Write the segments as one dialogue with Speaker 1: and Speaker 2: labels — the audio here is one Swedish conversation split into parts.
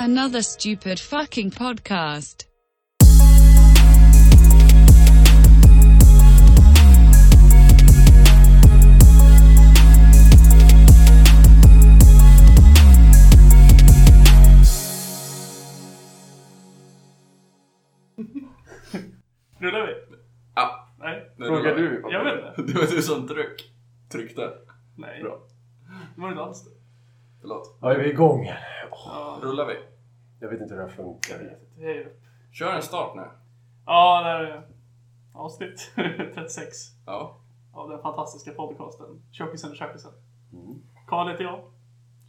Speaker 1: Another stupid fucking podcast.
Speaker 2: Rullar vi?
Speaker 3: Ja.
Speaker 2: Nej?
Speaker 3: Nej, det
Speaker 4: Frågar
Speaker 3: var-
Speaker 4: du?
Speaker 2: Jag vet inte.
Speaker 3: Det var du som tryck. tryckte.
Speaker 2: Nej.
Speaker 3: Bra.
Speaker 2: Det var inte alls det.
Speaker 3: Förlåt.
Speaker 4: Ja, vi är igång.
Speaker 2: Ja,
Speaker 3: Rullar vi?
Speaker 4: Jag vet inte hur det här funkar.
Speaker 2: det är ju...
Speaker 3: Kör en start nu.
Speaker 2: Ja, det här är avsnitt 36
Speaker 3: Ja.
Speaker 2: av den fantastiska podcasten Tjockisen och Tjockisen.
Speaker 3: Mm.
Speaker 2: Karl heter jag.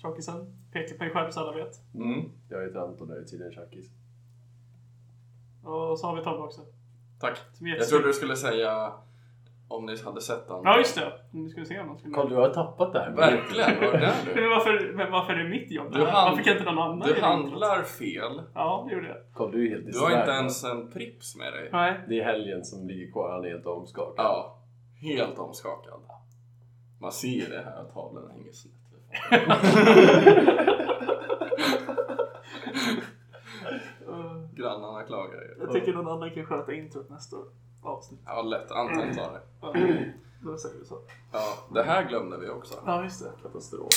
Speaker 2: Tjockisen. Pekar på mig själv så alla vet.
Speaker 3: Mm.
Speaker 4: Jag heter Anton och jag är tydligen tjackis.
Speaker 2: Och så har vi Tobbe också.
Speaker 3: Tack.
Speaker 2: Som är
Speaker 3: Jag
Speaker 2: jättesnygg.
Speaker 3: trodde du skulle säga om ni hade sett den.
Speaker 2: Ja, just det. Om ni skulle se någon. Skulle...
Speaker 4: Carl, du har tappat det här.
Speaker 3: Verkligen. Var det där
Speaker 2: Men
Speaker 3: du?
Speaker 2: varför, men varför är det mitt jobb?
Speaker 3: Du hand-
Speaker 2: Varför kan inte någon annan
Speaker 3: Du
Speaker 2: göra det?
Speaker 3: handlar fel.
Speaker 2: Ja, det gjorde jag.
Speaker 4: Carl, du är helt
Speaker 3: Du har inte
Speaker 4: distraherad.
Speaker 3: ens en Pripps med dig.
Speaker 2: Nej.
Speaker 4: Det är helgen som ligger kvar. Han är helt omskakad.
Speaker 3: Ja. Helt omskakad. Man ser det här att tavlan hänger snett.
Speaker 2: Eh,
Speaker 3: Grannarna klagar ju.
Speaker 2: Jag tycker någon annan kan sköta introt nästa avsnitt.
Speaker 3: Ja, lätt. Anton tar det.
Speaker 2: Ja,
Speaker 3: Mm.
Speaker 2: Då säger vi så.
Speaker 3: Ja, det här glömde vi också.
Speaker 2: Ja, just det.
Speaker 4: Katastrof.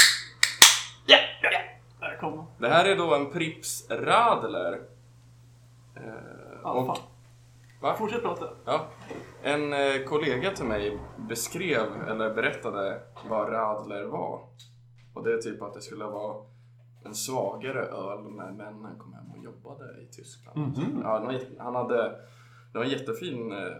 Speaker 2: Där kommer hon.
Speaker 3: Det här är då en Pripps Radler. Eh,
Speaker 2: Ja,
Speaker 3: och
Speaker 2: fan.
Speaker 3: Va?
Speaker 2: Fortsätt prata.
Speaker 3: Ja. En eh, kollega till mig beskrev eller berättade vad radler var. Och det är typ att det skulle vara en svagare öl när männen kom hem och jobbade i Tyskland. ja, någon jätte- han hade det var en jättefin eh, eh,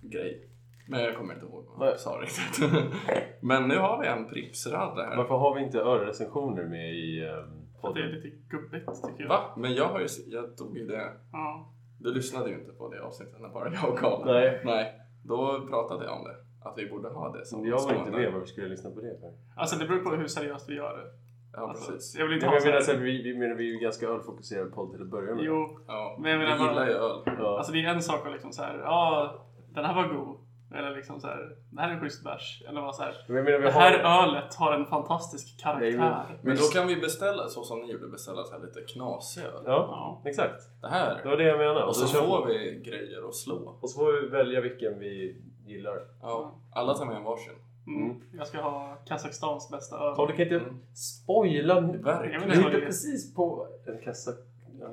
Speaker 3: grej. Men jag kommer inte ihåg vad han
Speaker 4: Nej.
Speaker 3: sa riktigt. Men nu har vi en Pripps radler här.
Speaker 4: Varför har vi inte ölrecensioner med i ehm,
Speaker 2: För det är
Speaker 4: podden?
Speaker 2: lite gubbigt tycker jag.
Speaker 3: Va? Men jag, har ju, s- jag tog ju det.
Speaker 2: Ja.
Speaker 3: Du lyssnade ju inte på det avsnittet när bara jag och Karl.
Speaker 4: Nej.
Speaker 3: Nej, då pratade jag om det. Att vi borde ha det som
Speaker 4: Jag var inte
Speaker 3: stående.
Speaker 4: med. Varför skulle jag lyssna på det? För?
Speaker 2: Alltså det beror på hur seriöst vi gör det.
Speaker 3: Ja,
Speaker 2: Alltså,
Speaker 3: precis.
Speaker 2: jag vill
Speaker 4: Nej,
Speaker 2: inte
Speaker 4: men
Speaker 2: ha
Speaker 4: jag menar,
Speaker 2: så
Speaker 4: så
Speaker 2: här...
Speaker 4: här, vi, vi, menar, vi är ju ganska ölfokuserad podd till att börja med.
Speaker 2: Jo,
Speaker 3: Ja,
Speaker 2: Men jag menar
Speaker 3: vi gillar
Speaker 2: bara-
Speaker 3: ju öl.
Speaker 4: Ja.
Speaker 2: alltså det är en sak att liksom så här, ja, den här var god. Eller liksom så här, det här är en schysst bärs. Eller vad så här,
Speaker 4: Men jag menar, vi
Speaker 2: det
Speaker 4: har...
Speaker 2: här ölet har en fantastisk karaktär.
Speaker 4: Nej, men-
Speaker 3: Men då kan vi beställa så som ni gjorde, beställa så här lite knasig öl.
Speaker 4: Ja, exakt.
Speaker 3: Det
Speaker 4: Det
Speaker 3: här.
Speaker 4: var det jag menade.
Speaker 3: Och så
Speaker 4: kör
Speaker 3: får vi grejer att slå.
Speaker 4: Och så får vi välja vilken vi gillar.
Speaker 3: Ja, alla tar med en varsin.
Speaker 2: Mm. Jag ska ha Kazakstans bästa öl.
Speaker 4: Carl, du kan inte
Speaker 3: Mm.
Speaker 4: spoila nu.
Speaker 2: Jag
Speaker 3: Verkligen.
Speaker 2: vet
Speaker 4: Vi
Speaker 2: inte vad
Speaker 4: hittar
Speaker 2: det är.
Speaker 4: precis på en kassa. Ja.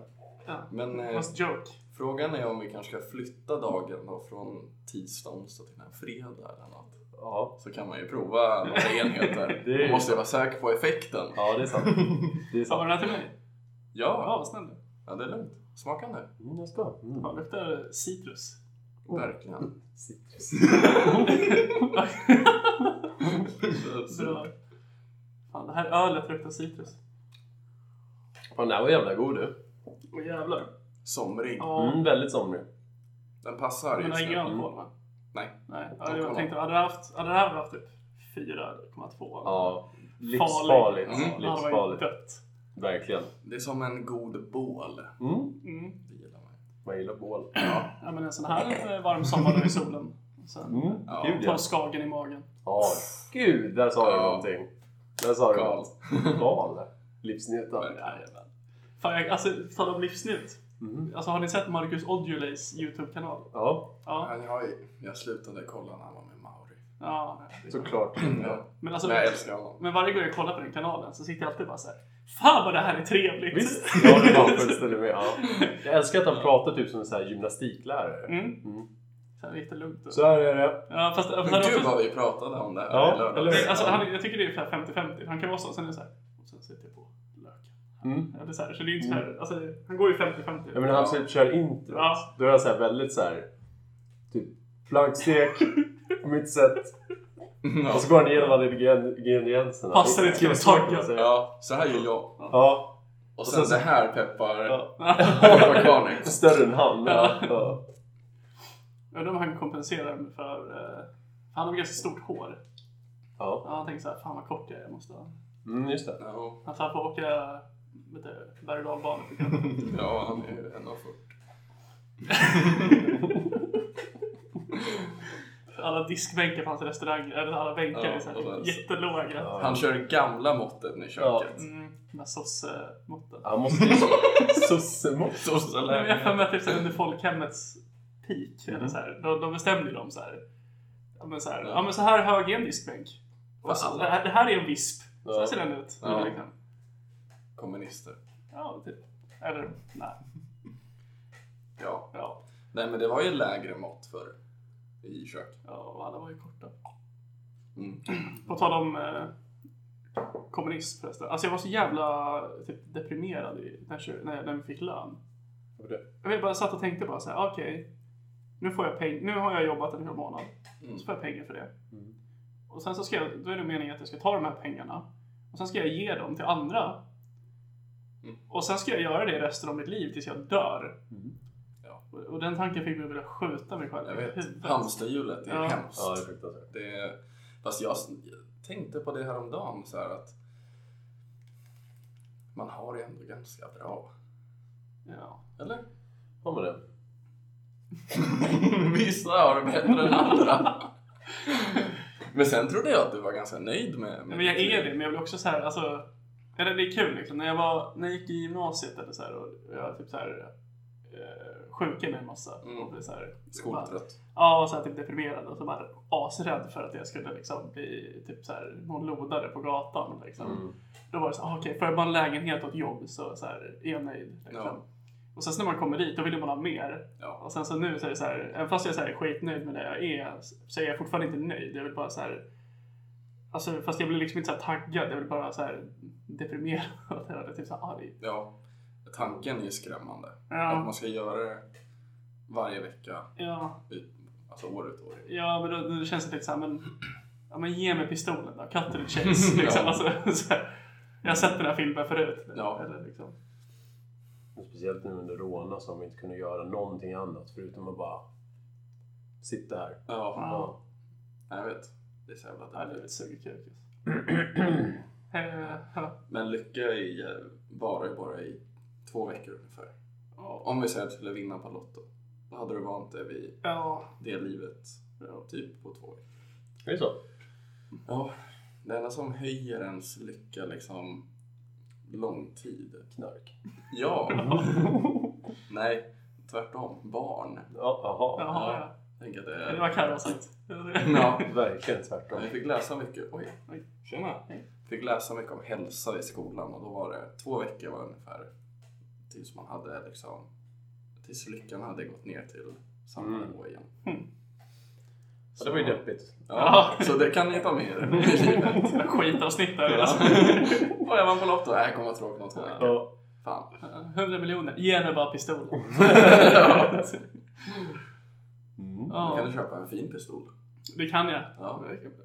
Speaker 2: Ja.
Speaker 3: Men eh,
Speaker 2: Fast joke.
Speaker 3: frågan är om vi kanske ska flytta dagen då från tisdag, onsdag till en fredag eller något.
Speaker 4: ja.
Speaker 3: Så kan man ju prova några enheter.
Speaker 4: Det är
Speaker 3: Man
Speaker 4: ju-
Speaker 3: måste ju vara säker på effekten.
Speaker 4: Ja, det är sant. Det är
Speaker 2: Sa
Speaker 4: sant.
Speaker 2: du den här till mig? Ja,
Speaker 3: Ja,
Speaker 2: vad snäll du.
Speaker 3: ja det är lugnt. Smaka nu.
Speaker 4: Mm, jag ska. Mm.
Speaker 2: Fan, luktar citrus.
Speaker 3: Verkligen.
Speaker 4: Citrus.
Speaker 2: Bra. Fan, det här ölet luktar citrus.
Speaker 4: Fan, den här var jävla god du.
Speaker 2: Åh jävlar.
Speaker 3: Somrig.
Speaker 2: Ja,
Speaker 4: Mm, väldigt somrig.
Speaker 3: Den passar
Speaker 2: men det
Speaker 3: just
Speaker 2: är
Speaker 3: nu.
Speaker 2: ingen alkohol va?
Speaker 3: Nej.
Speaker 2: Nej. Ja,
Speaker 3: Ja, kolla.
Speaker 2: jag tänkte, hade det, haft, hade det här haft typ 4,2
Speaker 4: Ja. Livsfarligt.
Speaker 3: Mm.
Speaker 2: Det hade varit
Speaker 4: Livsfarligt.
Speaker 2: dött.
Speaker 4: Verkligen.
Speaker 3: Det är som en god bål.
Speaker 4: Mm.
Speaker 2: Mm.
Speaker 3: Det gillar man ju.
Speaker 4: Man gillar bål.
Speaker 2: Ja, men en sån här eh, varm sommardag i solen. Och Sen
Speaker 4: Mm.
Speaker 3: Ja.
Speaker 4: Gud
Speaker 2: tar
Speaker 4: ja.
Speaker 2: skagen i magen.
Speaker 4: ja. Gud, där sa du
Speaker 3: Ja.
Speaker 4: någonting. Där sa du
Speaker 3: Carl.
Speaker 4: något. Val. Livsnjutare.
Speaker 2: Jajamän. Fan, jag, alltså, på tal om livsnjut.
Speaker 4: Mm.
Speaker 2: Alltså, har ni sett Marcus Aujalays YouTube-kanal?
Speaker 4: Ja,
Speaker 2: Ja.
Speaker 3: Han, jag, jag slutade kolla när han var med Mauri.
Speaker 2: ja.
Speaker 4: såklart.
Speaker 3: Ja.
Speaker 2: Men alltså,
Speaker 3: Men jag älskar honom.
Speaker 2: Men varje gång jag kollar på den kanalen så sitter jag alltid bara så här. Fan vad det här är trevligt!
Speaker 4: Visst? Ja, det var fullständigt med. Ja. Jag älskar att han pratar typ som en sån här gymnastiklärare.
Speaker 2: Mm.
Speaker 4: Mm.
Speaker 2: Så här riktigt lugnt. och-
Speaker 4: Så här är det.
Speaker 2: Ja, fast, fast
Speaker 3: Men
Speaker 2: han,
Speaker 3: gud
Speaker 2: också,
Speaker 3: vad vi pratade om det här
Speaker 4: Ja,
Speaker 3: i lördags.
Speaker 4: eller hur?
Speaker 2: alltså, han, jag tycker det är ungefär 50-50. Han kan vara så, sen är det så här. Och sen sätter jag på löken.
Speaker 4: Mm.
Speaker 2: Eller så, här, så det är ju inte så här, alltså, han går ju 50-50.
Speaker 4: Ja, men när han
Speaker 3: Ja.
Speaker 4: typ kör introt,
Speaker 2: Ja.
Speaker 4: då är han så här väldigt så här, typ plankstek, mitt sätt. Och så går han igenom alla ingre- ingredienserna.
Speaker 2: Passar
Speaker 4: Det-
Speaker 2: inte till
Speaker 4: det är svårt
Speaker 2: taggen.
Speaker 4: att säga.
Speaker 3: Ja, så här gör jag.
Speaker 4: Ja.
Speaker 3: Och sen det här peppar
Speaker 4: ja.
Speaker 3: peppar Carnex.
Speaker 4: Större än han.
Speaker 2: Ja.
Speaker 4: Ja. Ja.
Speaker 2: Jag undrar om han kompenserar för... eh, för han har ganska stort hår.
Speaker 4: ja.
Speaker 2: Ja, han tänker så här, fan vad kort jag är. Jag måste... ha."
Speaker 4: Mm, just det.
Speaker 3: Ja,
Speaker 2: Alltså, han får åka vet du, berg och dalbana. tycker jag.
Speaker 3: ja, han är ju 1,40.
Speaker 2: alla diskbänkar på hans restaurang, eller alla bänkar
Speaker 3: Ja,
Speaker 2: är så här, typ
Speaker 3: och där-
Speaker 2: jättelåga.
Speaker 4: Ja.
Speaker 3: Han kör gamla måttet nu i köket.
Speaker 2: Mm, med sossemåtten.
Speaker 4: Han måste ju... Sossemått.
Speaker 3: Så, så
Speaker 2: Nej, men Jag har
Speaker 3: lär-
Speaker 2: för mig att det är så här
Speaker 3: Mm.
Speaker 2: under folkhemmets peak. Eller så här, de, de bestämde ju dem så här. Ja men så här, ja, men så här hög är en diskbänk.
Speaker 3: För
Speaker 2: Och så,
Speaker 3: alla.
Speaker 2: det, här, det här är en visp. Så här
Speaker 4: Ja.
Speaker 2: ser den ut.
Speaker 3: Ja.
Speaker 2: Liksom.
Speaker 3: Kommunister.
Speaker 2: ja typ. Eller nej.
Speaker 3: Ja.
Speaker 2: Ja.
Speaker 3: Nej men det var ju lägre mått för i kök.
Speaker 2: ja, och alla var ju korta.
Speaker 3: Mm.
Speaker 2: På tal om eh, kommunism förresten. Alltså jag var så jävla typ, deprimerad i, när, jag kö- när, jag- när vi fick lön. Jag vet, bara satt och tänkte bara så här, okej. nu får jag peng- Nu har jag jobbat en hel månad.
Speaker 3: Mm.
Speaker 2: Så får jag pengar för det.
Speaker 4: Mm.
Speaker 2: Och sen så ska jag, då är det meningen att jag ska ta de här pengarna. Och sen ska jag ge dem till andra.
Speaker 3: Mm.
Speaker 2: Och sen ska jag göra det resten av mitt liv tills jag dör.
Speaker 4: Mm.
Speaker 3: Ja.
Speaker 2: Och, och den tanken fick mig att vilja skjuta mig själv
Speaker 3: Jag
Speaker 2: i
Speaker 3: vet.
Speaker 2: huvudet.
Speaker 3: Hamsterhjulet, det är
Speaker 2: Ja.
Speaker 3: hemskt.
Speaker 4: Ja, det är fruktansvärt.
Speaker 3: Det är, fast jag s- tänkte på det här om dagen så här att man har det ändå ganska bra.
Speaker 2: Ja.
Speaker 3: Eller?
Speaker 4: Har man det?
Speaker 3: Vissa har det bättre än andra. Men sen trodde jag att du var ganska nöjd med... med
Speaker 2: Men jag
Speaker 3: ditt
Speaker 2: är
Speaker 3: liv.
Speaker 2: det, men jag blir också så här, alltså. Eller det är kul liksom. När jag, var, när jag gick i gymnasiet eller så här, och jag typ så här eh, sjuka mig en massa.
Speaker 3: Mm.
Speaker 2: Och blev så här,
Speaker 3: Skoltrött.
Speaker 2: Ja, och så här, typ deprimerad och så bara asrädd för att jag skulle liksom bli typ så här, någon lodare på gatan. Liksom.
Speaker 3: Mm.
Speaker 2: Då var det så här, ah, okej, får jag bara en lägenhet och ett jobb så, så här, är jag nöjd. Liksom.
Speaker 3: Ja.
Speaker 2: Och sen så när man kommer dit, då vill man ha mer.
Speaker 3: Ja.
Speaker 2: Och sen så nu så är det så här, även fast jag är så här, skitnöjd med det jag är, så är jag fortfarande inte nöjd. Jag vill bara så här, alltså, fast jag blir liksom inte så här taggad, jag vill bara så här deprimerad och typ så här arg.
Speaker 3: ja. Tanken är ju skrämmande. Att
Speaker 2: Ja,
Speaker 3: man ska göra det varje vecka,
Speaker 2: ja,
Speaker 3: i- alltså år ut och år in.
Speaker 2: ja men då, då känns det lite så här, men, ja, men ge mig pistolen då, cut to the chase. Liksom.
Speaker 3: Ja.
Speaker 2: alltså, så här, jag har sett den här filmen förut.
Speaker 3: Ja.
Speaker 2: Eller, liksom.
Speaker 4: Men Speciellt nu under Rona så har man inte kunnat göra någonting annat förutom att bara sitta här.
Speaker 3: Ja,
Speaker 2: ja.
Speaker 3: jag vet. Det är så jävla
Speaker 2: Ja, det
Speaker 3: dåligt.
Speaker 2: är ett sugerkuk. Eh, ja.
Speaker 3: Men lycka i eh, bara, bara i två veckor ungefär.
Speaker 2: Ja.
Speaker 3: Om vi säger att du skulle vinna på Lotto, då hade du vant dig vid
Speaker 2: Ja.
Speaker 3: det livet
Speaker 2: Ja.
Speaker 3: typ på två veckor.
Speaker 4: Är det så?
Speaker 3: Ja, det enda som höjer ens lycka liksom lång tid.
Speaker 4: Knark.
Speaker 3: Ja, nej, tvärtom. Barn.
Speaker 4: Ja, aha.
Speaker 2: Jaha,
Speaker 3: Tänk att det
Speaker 2: ja. Det
Speaker 3: är...
Speaker 2: var Carro sagt.
Speaker 3: Ja,
Speaker 4: Verkligen tvärtom.
Speaker 3: jag fick läsa mycket. Oj,
Speaker 2: Oj.
Speaker 3: tjena.
Speaker 2: Hej.
Speaker 3: Fick läsa mycket om hälsa i skolan och då var det två veckor var det ungefär tills man hade liksom, tills lyckan hade gått ner till samma
Speaker 4: Mm.
Speaker 3: nivå igen.
Speaker 4: Ja, det var ju deppigt.
Speaker 3: Ja, så det kan ni ta med er i livet.
Speaker 2: Skitavsnitt där.
Speaker 3: Ja.
Speaker 2: Alltså.
Speaker 3: Och jag vann på Lotto. Nej, det kommer vara tråkigt om två veckor.
Speaker 4: Ja.
Speaker 3: Fan.
Speaker 2: 100 miljoner. Ge mig bara pistolen.
Speaker 3: Då kan
Speaker 2: Ja,
Speaker 3: du köpa en fin pistol.
Speaker 2: det kan jag.
Speaker 3: Ja,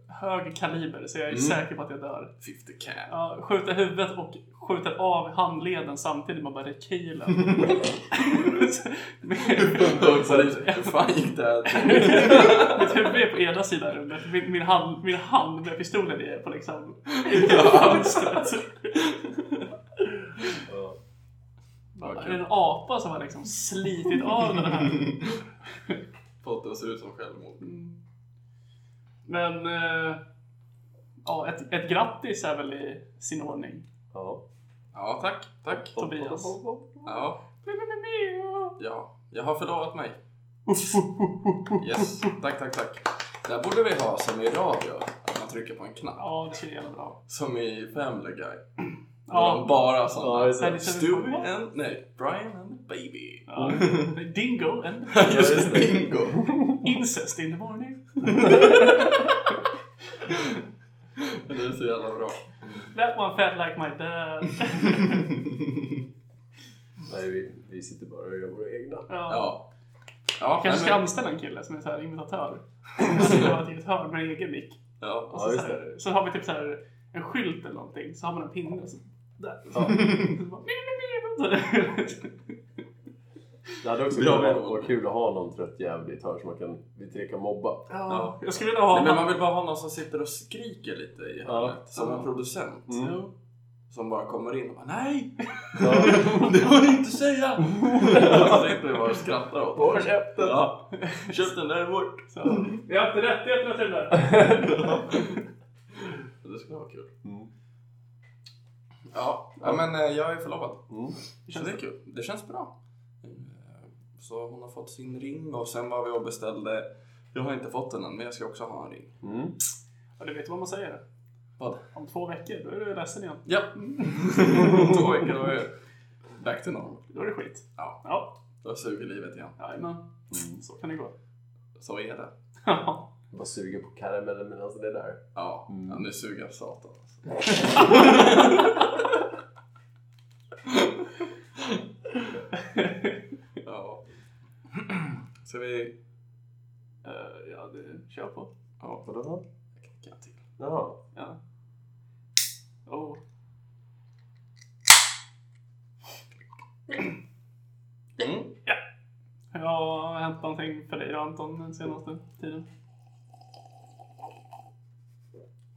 Speaker 2: Hög kaliber, så jag är
Speaker 3: Mm.
Speaker 2: säker på att jag dör.
Speaker 3: 50 can.
Speaker 2: Ja, skjuter huvudet och skjuter av handleden samtidigt. Man bara, det är kilen.
Speaker 3: Hur fan gick det här till?
Speaker 2: Mitt huvud är på ena sidan rummet. Min, min, hand, min hand med pistolen är på liksom
Speaker 3: alltså.
Speaker 2: fönstret.
Speaker 4: Ja.
Speaker 2: Är det en apa som har liksom slitit av den här?
Speaker 3: Fått det att se ut som självmord.
Speaker 2: Men eh, ja, ett, ett grattis är väl i sin ordning.
Speaker 4: Ja.
Speaker 3: Ja, tack. Tack.
Speaker 2: Tobias.
Speaker 3: Ja, ja. Jag har förlovat mig. Yes. Tack, tack, tack. Det här borde vi ha som i radio. Att man trycker på en knapp.
Speaker 2: Ja, det skulle jävla bra.
Speaker 3: Som i Family Guy.
Speaker 2: Ja.
Speaker 3: Bara sådana.
Speaker 4: Ja, just
Speaker 2: Här är
Speaker 4: det.
Speaker 3: Stu
Speaker 2: Stu-
Speaker 3: and... Nej, Brian and Baby.
Speaker 2: Ja. Dingo and
Speaker 3: Just det. Bingo.
Speaker 2: incest in the morning.
Speaker 3: Det är så jävla bra.
Speaker 2: That one felt like my dad.
Speaker 4: Nej, vi, vi sitter bara och gör våra egna.
Speaker 2: Ja.
Speaker 3: Ja. Ja,
Speaker 2: Kanske
Speaker 3: nej,
Speaker 2: ska
Speaker 3: men-
Speaker 2: anställa en kille som är så här imitatör. Alltså, jag har ett hörn med egen mick.
Speaker 3: ja.
Speaker 2: Och
Speaker 4: Ja,
Speaker 2: så,
Speaker 4: just
Speaker 2: så, här, så har vi typ så här en skylt eller någonting, så har man en pinne. Så där.
Speaker 4: Ja.
Speaker 2: Så bara,
Speaker 4: Det hade också
Speaker 3: Bra.
Speaker 4: kunnat vara kul att ha någon trött jävel i ett hörn som man kan, vi tre kan mobba.
Speaker 2: ja. Jag skulle vilja ha...
Speaker 3: Nej, men man vill bara ha någon som sitter och skriker lite i hörnet. Som
Speaker 2: Ja.
Speaker 3: en producent.
Speaker 4: Mm.
Speaker 2: Jo.
Speaker 3: Som bara kommer in och bara nej!
Speaker 4: Ja.
Speaker 3: Det får ni inte säga! Och sitter bara och skrattar åt
Speaker 4: Håll käften!
Speaker 3: Ja, köp den där bort!
Speaker 2: Så, vi har inte rättigheterna till den där.
Speaker 3: Det skulle vara kul.
Speaker 4: Mm.
Speaker 3: Ja, ja men eh, jag är förlovad.
Speaker 4: Mm.
Speaker 3: Så det är kul. Det känns bra. Eh, Så hon har fått sin ring och sen var vi och beställde. Jag har inte fått den än men jag ska också ha en ring.
Speaker 4: Mm.
Speaker 2: Ja, du vet vad man säger?
Speaker 3: Vad?
Speaker 2: Om två veckor, då är du ledsen igen.
Speaker 3: Ja! Två veckor då är jag back to normal.
Speaker 2: Då är det skit.
Speaker 3: Ja,
Speaker 2: Ja,
Speaker 3: då suger livet igen.
Speaker 2: jajamän. Så kan det gå.
Speaker 3: Så är det.
Speaker 2: Ja.
Speaker 4: Jag bara suger på karamellen medan det är där.
Speaker 3: Ja,
Speaker 4: Mm.
Speaker 3: ja nu suger jag satan. alltså. Ja. Ska vi...
Speaker 2: Eh, ja, det kör på.
Speaker 3: Ja,
Speaker 4: Vadå?
Speaker 3: jag knackar till.
Speaker 4: Jaha.
Speaker 2: Ja. Oh.
Speaker 3: Mm.
Speaker 2: Ja, har hänt någonting för dig då, Anton den senaste tiden?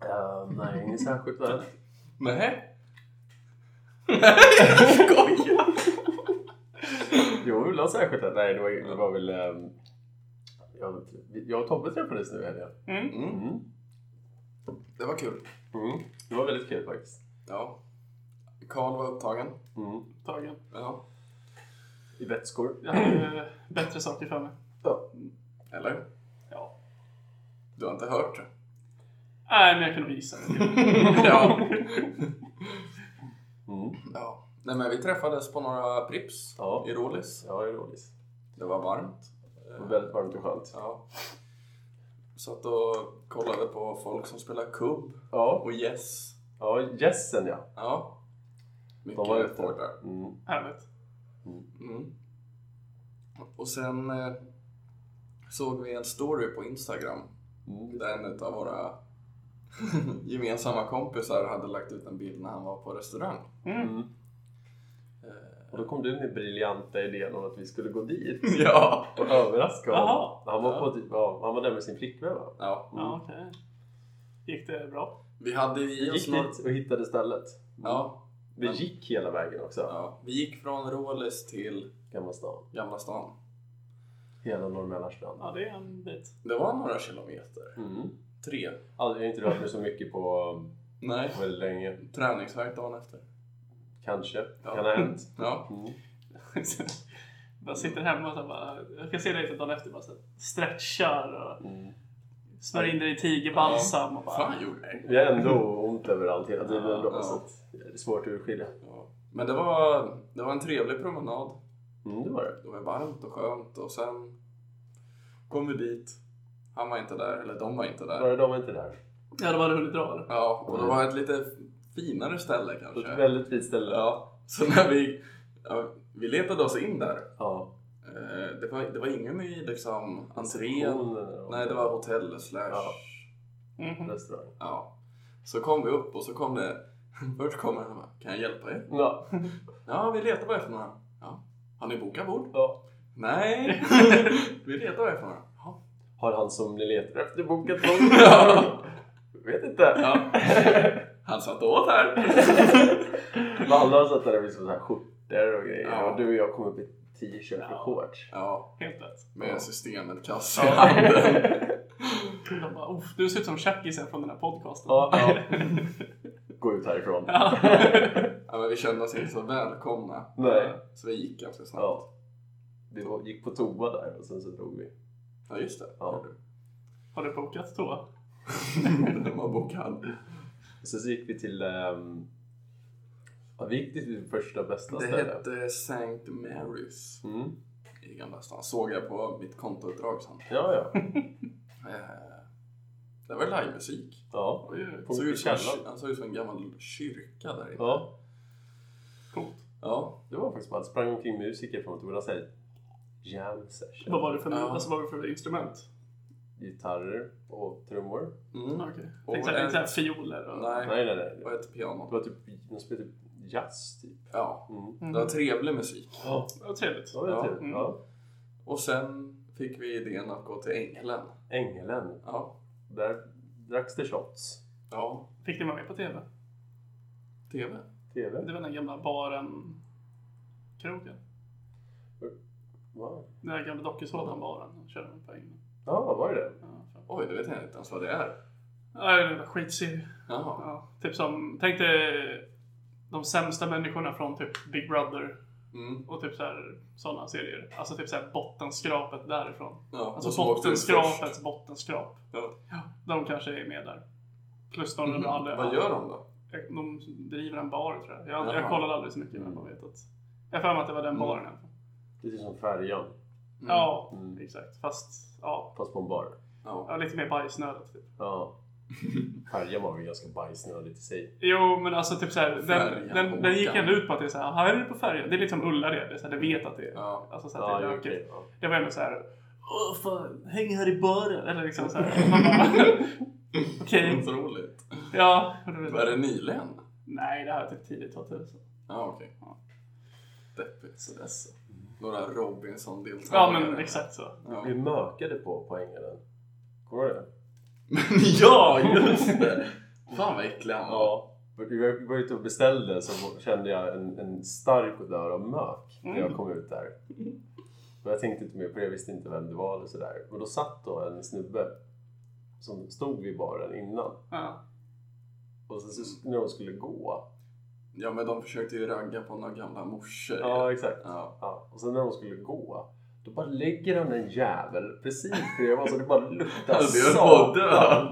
Speaker 4: Eh, nej, inget särskilt där.
Speaker 3: Nej. Nej, skojar!
Speaker 4: Jo, det var särskilt där. Nej, det var, det var väl... ehm, jag, jag och Tobbe träffades nu i helgen.
Speaker 2: Mm.
Speaker 3: Mm, det var kul.
Speaker 4: Mm. Det var väldigt kul faktiskt.
Speaker 3: Ja. Karl var upptagen.
Speaker 4: Mm.
Speaker 2: Tagen.
Speaker 3: Ja.
Speaker 4: I vätskor.
Speaker 2: Jag hade ju bättre saker för mig.
Speaker 3: Eller?
Speaker 2: Ja.
Speaker 3: Du har inte hört det?
Speaker 2: Nej, men jag kan nog gissa. det.
Speaker 3: ja.
Speaker 4: Mm.
Speaker 3: ja. Nej men vi träffades på några Prips
Speaker 4: Ja.
Speaker 3: i Rålis.
Speaker 4: Ja, i Rådis.
Speaker 3: Det var varmt.
Speaker 4: Det var väldigt varmt och skönt.
Speaker 3: Ja. Satt och kollade på folk som spelar kubb
Speaker 4: Ja,
Speaker 3: och yes.
Speaker 4: ja gässen ja.
Speaker 3: Ja. Mycket
Speaker 4: De var ute.
Speaker 3: folk där.
Speaker 4: Mm.
Speaker 2: Härligt.
Speaker 3: Mm. Och sen eh, såg vi en story på Instagram
Speaker 4: Mm.
Speaker 3: där en av våra gemensamma kompisar hade lagt ut en bild när han var på restaurang.
Speaker 2: Mm.
Speaker 4: Mm. Och då kom du med briljanta idén om att vi skulle gå dit
Speaker 3: Ja!
Speaker 4: och överraska honom.
Speaker 2: Jaha.
Speaker 4: Han var, på, typ- ja, han var där med sin flickvän va?
Speaker 3: ja.
Speaker 2: Ja, okej. Gick det bra?
Speaker 3: Vi hade ju
Speaker 4: Vi
Speaker 3: i oss
Speaker 4: gick
Speaker 3: några...
Speaker 4: dit och hittade stället.
Speaker 3: Ja,
Speaker 4: Vi gick hela vägen också.
Speaker 3: ja. Vi gick från Rålis till
Speaker 4: Gamla stan.
Speaker 3: Gamla stan.
Speaker 4: Hela norr Mälarstrand.
Speaker 2: Ja, det är en bit.
Speaker 3: Det var några kilometer.
Speaker 4: Mm.
Speaker 3: Tre.
Speaker 4: Aldrig, jag har inte rört mig så mycket på
Speaker 3: Nej.
Speaker 4: väldigt länge.
Speaker 3: Träningsvärk dagen efter.
Speaker 4: Kanske.
Speaker 3: Ja.
Speaker 4: Kan ha hänt.
Speaker 3: Ja.
Speaker 4: Mm.
Speaker 2: Jag sitter hemma och så bara, jag kan se dig lite dagen efter bara så här, stretchar och
Speaker 4: Mm.
Speaker 2: smörjer in dig i tigerbalsam och bara...
Speaker 3: Fan gjorde jag?
Speaker 4: Vi har ändå ont överallt hela tiden.
Speaker 2: Ja,
Speaker 4: ändå,
Speaker 3: ja.
Speaker 4: Så att det är svårt att urskilja.
Speaker 3: Ja. Men det var, det var en trevlig promenad.
Speaker 4: Mm, det var det.
Speaker 3: Det var varmt och skönt och sen kom vi dit. Han var inte där, eller de var inte där.
Speaker 4: Bara de var inte där.
Speaker 2: Ja, de hade hunnit dra eller?
Speaker 3: Ja, och det var ett lite finare ställe
Speaker 4: Det var ett
Speaker 3: kanske.
Speaker 4: väldigt fint ställe.
Speaker 3: Ja, så när vi, ja, vi letade oss in där.
Speaker 4: Ja.
Speaker 3: Eh, Det var, det var ingen i liksom entrén.
Speaker 4: Receptionen och-
Speaker 3: Nej, det var hotell
Speaker 4: Ja.
Speaker 3: slash...
Speaker 2: Mhm.
Speaker 4: Restaurang.
Speaker 3: Ja. Så kom vi upp och så kom det... Först kom han och bara, kan jag hjälpa er?
Speaker 4: Ja.
Speaker 3: Ja, vi letar bara efter några. Ja. Har ni bokat bord?
Speaker 4: ja.
Speaker 3: Nej, vi letar bara efter några. Ja.
Speaker 4: Har han som ni letar efter bokat någon?
Speaker 3: Ja.
Speaker 4: Vet inte.
Speaker 3: Ja. Han satt åt här.
Speaker 4: Men alla har satt där med sådana här skjortor och grejer.
Speaker 3: Ja.
Speaker 4: Och du och jag kom upp i t-shirt och
Speaker 2: Ja.
Speaker 4: shorts.
Speaker 3: Ja,
Speaker 2: Helt rätt.
Speaker 3: med systemet kassa i handen.
Speaker 2: De bara, Uff, du ser ut som tjackisen från den här podcasten.
Speaker 4: Ja. Gå ut härifrån.
Speaker 2: Ja.
Speaker 3: Ja, men vi kände oss inte så välkomna.
Speaker 4: Nej.
Speaker 3: Så vi gick ganska snabbt. Ja,
Speaker 4: Ja. Vi var- gick på toa där och sen så drog vi.
Speaker 3: just det.
Speaker 4: Ja.
Speaker 3: Gjorde
Speaker 2: Har du bokat toa?
Speaker 3: du. Den var bokad.
Speaker 4: Och sen så gick vi till... ehm, ja, vi gick till det första bästa
Speaker 3: Det
Speaker 4: stället.
Speaker 3: hette St. Mary's
Speaker 4: Mm.
Speaker 3: i Gamla stan. Såg jag på mitt kontoutdrag sen.
Speaker 4: Ja, ja.
Speaker 3: Eh, Det var livemusik.
Speaker 4: ja.
Speaker 2: Oj, oj, oj.
Speaker 4: På
Speaker 3: Såg ut som en
Speaker 4: källaren.
Speaker 3: kyr- Han såg ut som en gammal kyrka där inne.
Speaker 4: ja.
Speaker 2: Coolt.
Speaker 3: Ja.
Speaker 4: Det var faktiskt bara att sprang omkring musiker från ett säga jam session.
Speaker 2: Vad var det för,
Speaker 3: Ja.
Speaker 2: alltså, vad var det för instrument?
Speaker 4: Gitarrer och trummor.
Speaker 3: Mm.
Speaker 2: Okej.
Speaker 3: Och
Speaker 2: Tänkte såhär,
Speaker 3: en-
Speaker 2: inte såhär fioler och...
Speaker 3: Nej,
Speaker 4: Nej, nej, nej.
Speaker 3: det var ett
Speaker 4: Det
Speaker 3: piano.
Speaker 4: var typ, de spelade typ jazz typ.
Speaker 3: Ja,
Speaker 4: Mm.
Speaker 3: det
Speaker 2: Mm.
Speaker 3: var trevlig musik.
Speaker 4: Ja,
Speaker 2: Vad trevligt.
Speaker 4: det var ju
Speaker 3: Ja.
Speaker 4: trevligt.
Speaker 2: Mm.
Speaker 4: Ja.
Speaker 3: Och sen fick vi idén att gå till Änglen.
Speaker 4: Ängelen.
Speaker 3: Ja.
Speaker 4: Där dracks det shots.
Speaker 3: Ja.
Speaker 2: Fick ni vara med på TV?
Speaker 3: TV.
Speaker 4: TV?
Speaker 2: Det var den gamla baren... Kroken.
Speaker 4: Wow.
Speaker 2: Den där gamla dokusådan baren. Den körde de på England.
Speaker 4: Ja, var det det?
Speaker 2: Ja, fan.
Speaker 3: Oj, det vet jag inte ens vad det är.
Speaker 2: Ja, det var skitserie.
Speaker 3: Jaha.
Speaker 2: Ja, typ som... Tänk dig de sämsta människorna från typ Big Brother
Speaker 3: Mm.
Speaker 2: och typ så här, sådana serier. Alltså typ så här bottenskrapet därifrån.
Speaker 3: Ja, de
Speaker 2: Alltså
Speaker 3: som åkte ut först.
Speaker 2: bottenskrapets bottenskrap.
Speaker 3: Ja.
Speaker 2: De kanske är med där. Plus de
Speaker 3: Mhm.
Speaker 2: mm. aldrig...
Speaker 3: Vad gör de då?
Speaker 2: De driver en bar tror jag. Jag,
Speaker 3: Jaha.
Speaker 2: jag kollade aldrig så mycket men jag vet att... Jag har för mig att det var den
Speaker 3: Mm.
Speaker 2: baren i alla fall.
Speaker 4: Lite som Färjan,
Speaker 3: Mm.
Speaker 2: Ja,
Speaker 4: Mm.
Speaker 2: exakt. Fast ja,
Speaker 4: fast på en bar.
Speaker 3: Ja.
Speaker 2: ja lite mer bajsnödigt. Typ.
Speaker 4: Ja. Färjan var väl ganska bajsnödigt i sig.
Speaker 2: Jo, men alltså typ såhär, den,
Speaker 3: Färjan,
Speaker 2: den, den gick
Speaker 3: Håkan.
Speaker 2: ändå ut på att det är såhär, här är det på färjan. Det är lite som Ullared, det är så här, det vet att det är.
Speaker 3: Ja.
Speaker 2: Alltså så
Speaker 4: Ja,
Speaker 2: att det är
Speaker 4: ja,
Speaker 2: lökigt.
Speaker 4: okej. Ja.
Speaker 2: Det var ändå såhär, åh fan, häng här i baren. Eller liksom såhär. Man bara, Okej.
Speaker 3: Otroligt.
Speaker 2: ja. och det var så här,
Speaker 3: Var det nyligen?
Speaker 2: Nej, det här är typ tidigt 2000.
Speaker 3: Ja, okej.
Speaker 2: Ja.
Speaker 3: Deppigt sådär så. Några Robinson-deltagare.
Speaker 2: Ja, men exakt så.
Speaker 3: Ja.
Speaker 4: Vi mökade på på Ängeln. Kommer du ihåg det?
Speaker 3: Men ja, just det! Fan vad äcklig han var.
Speaker 4: Ja. Vi var- vi var ute och beställde så kände jag en, en stark odör av mök när jag
Speaker 2: Mm.
Speaker 4: kom ut där. Men jag tänkte inte mer på det, jag visste inte vem det var eller sådär. Men då satt då en snubbe som stod vid baren innan.
Speaker 2: Ja.
Speaker 4: Och sen så när de skulle gå.
Speaker 3: Ja, men de försökte ju ragga på några gamla morsor.
Speaker 4: exakt.
Speaker 3: Ja.
Speaker 4: Ja, och sen när de skulle gå, då bara lägger han en jävel precis bredvid oss och det bara luktar
Speaker 3: Alltså, jag höll på att
Speaker 4: satan.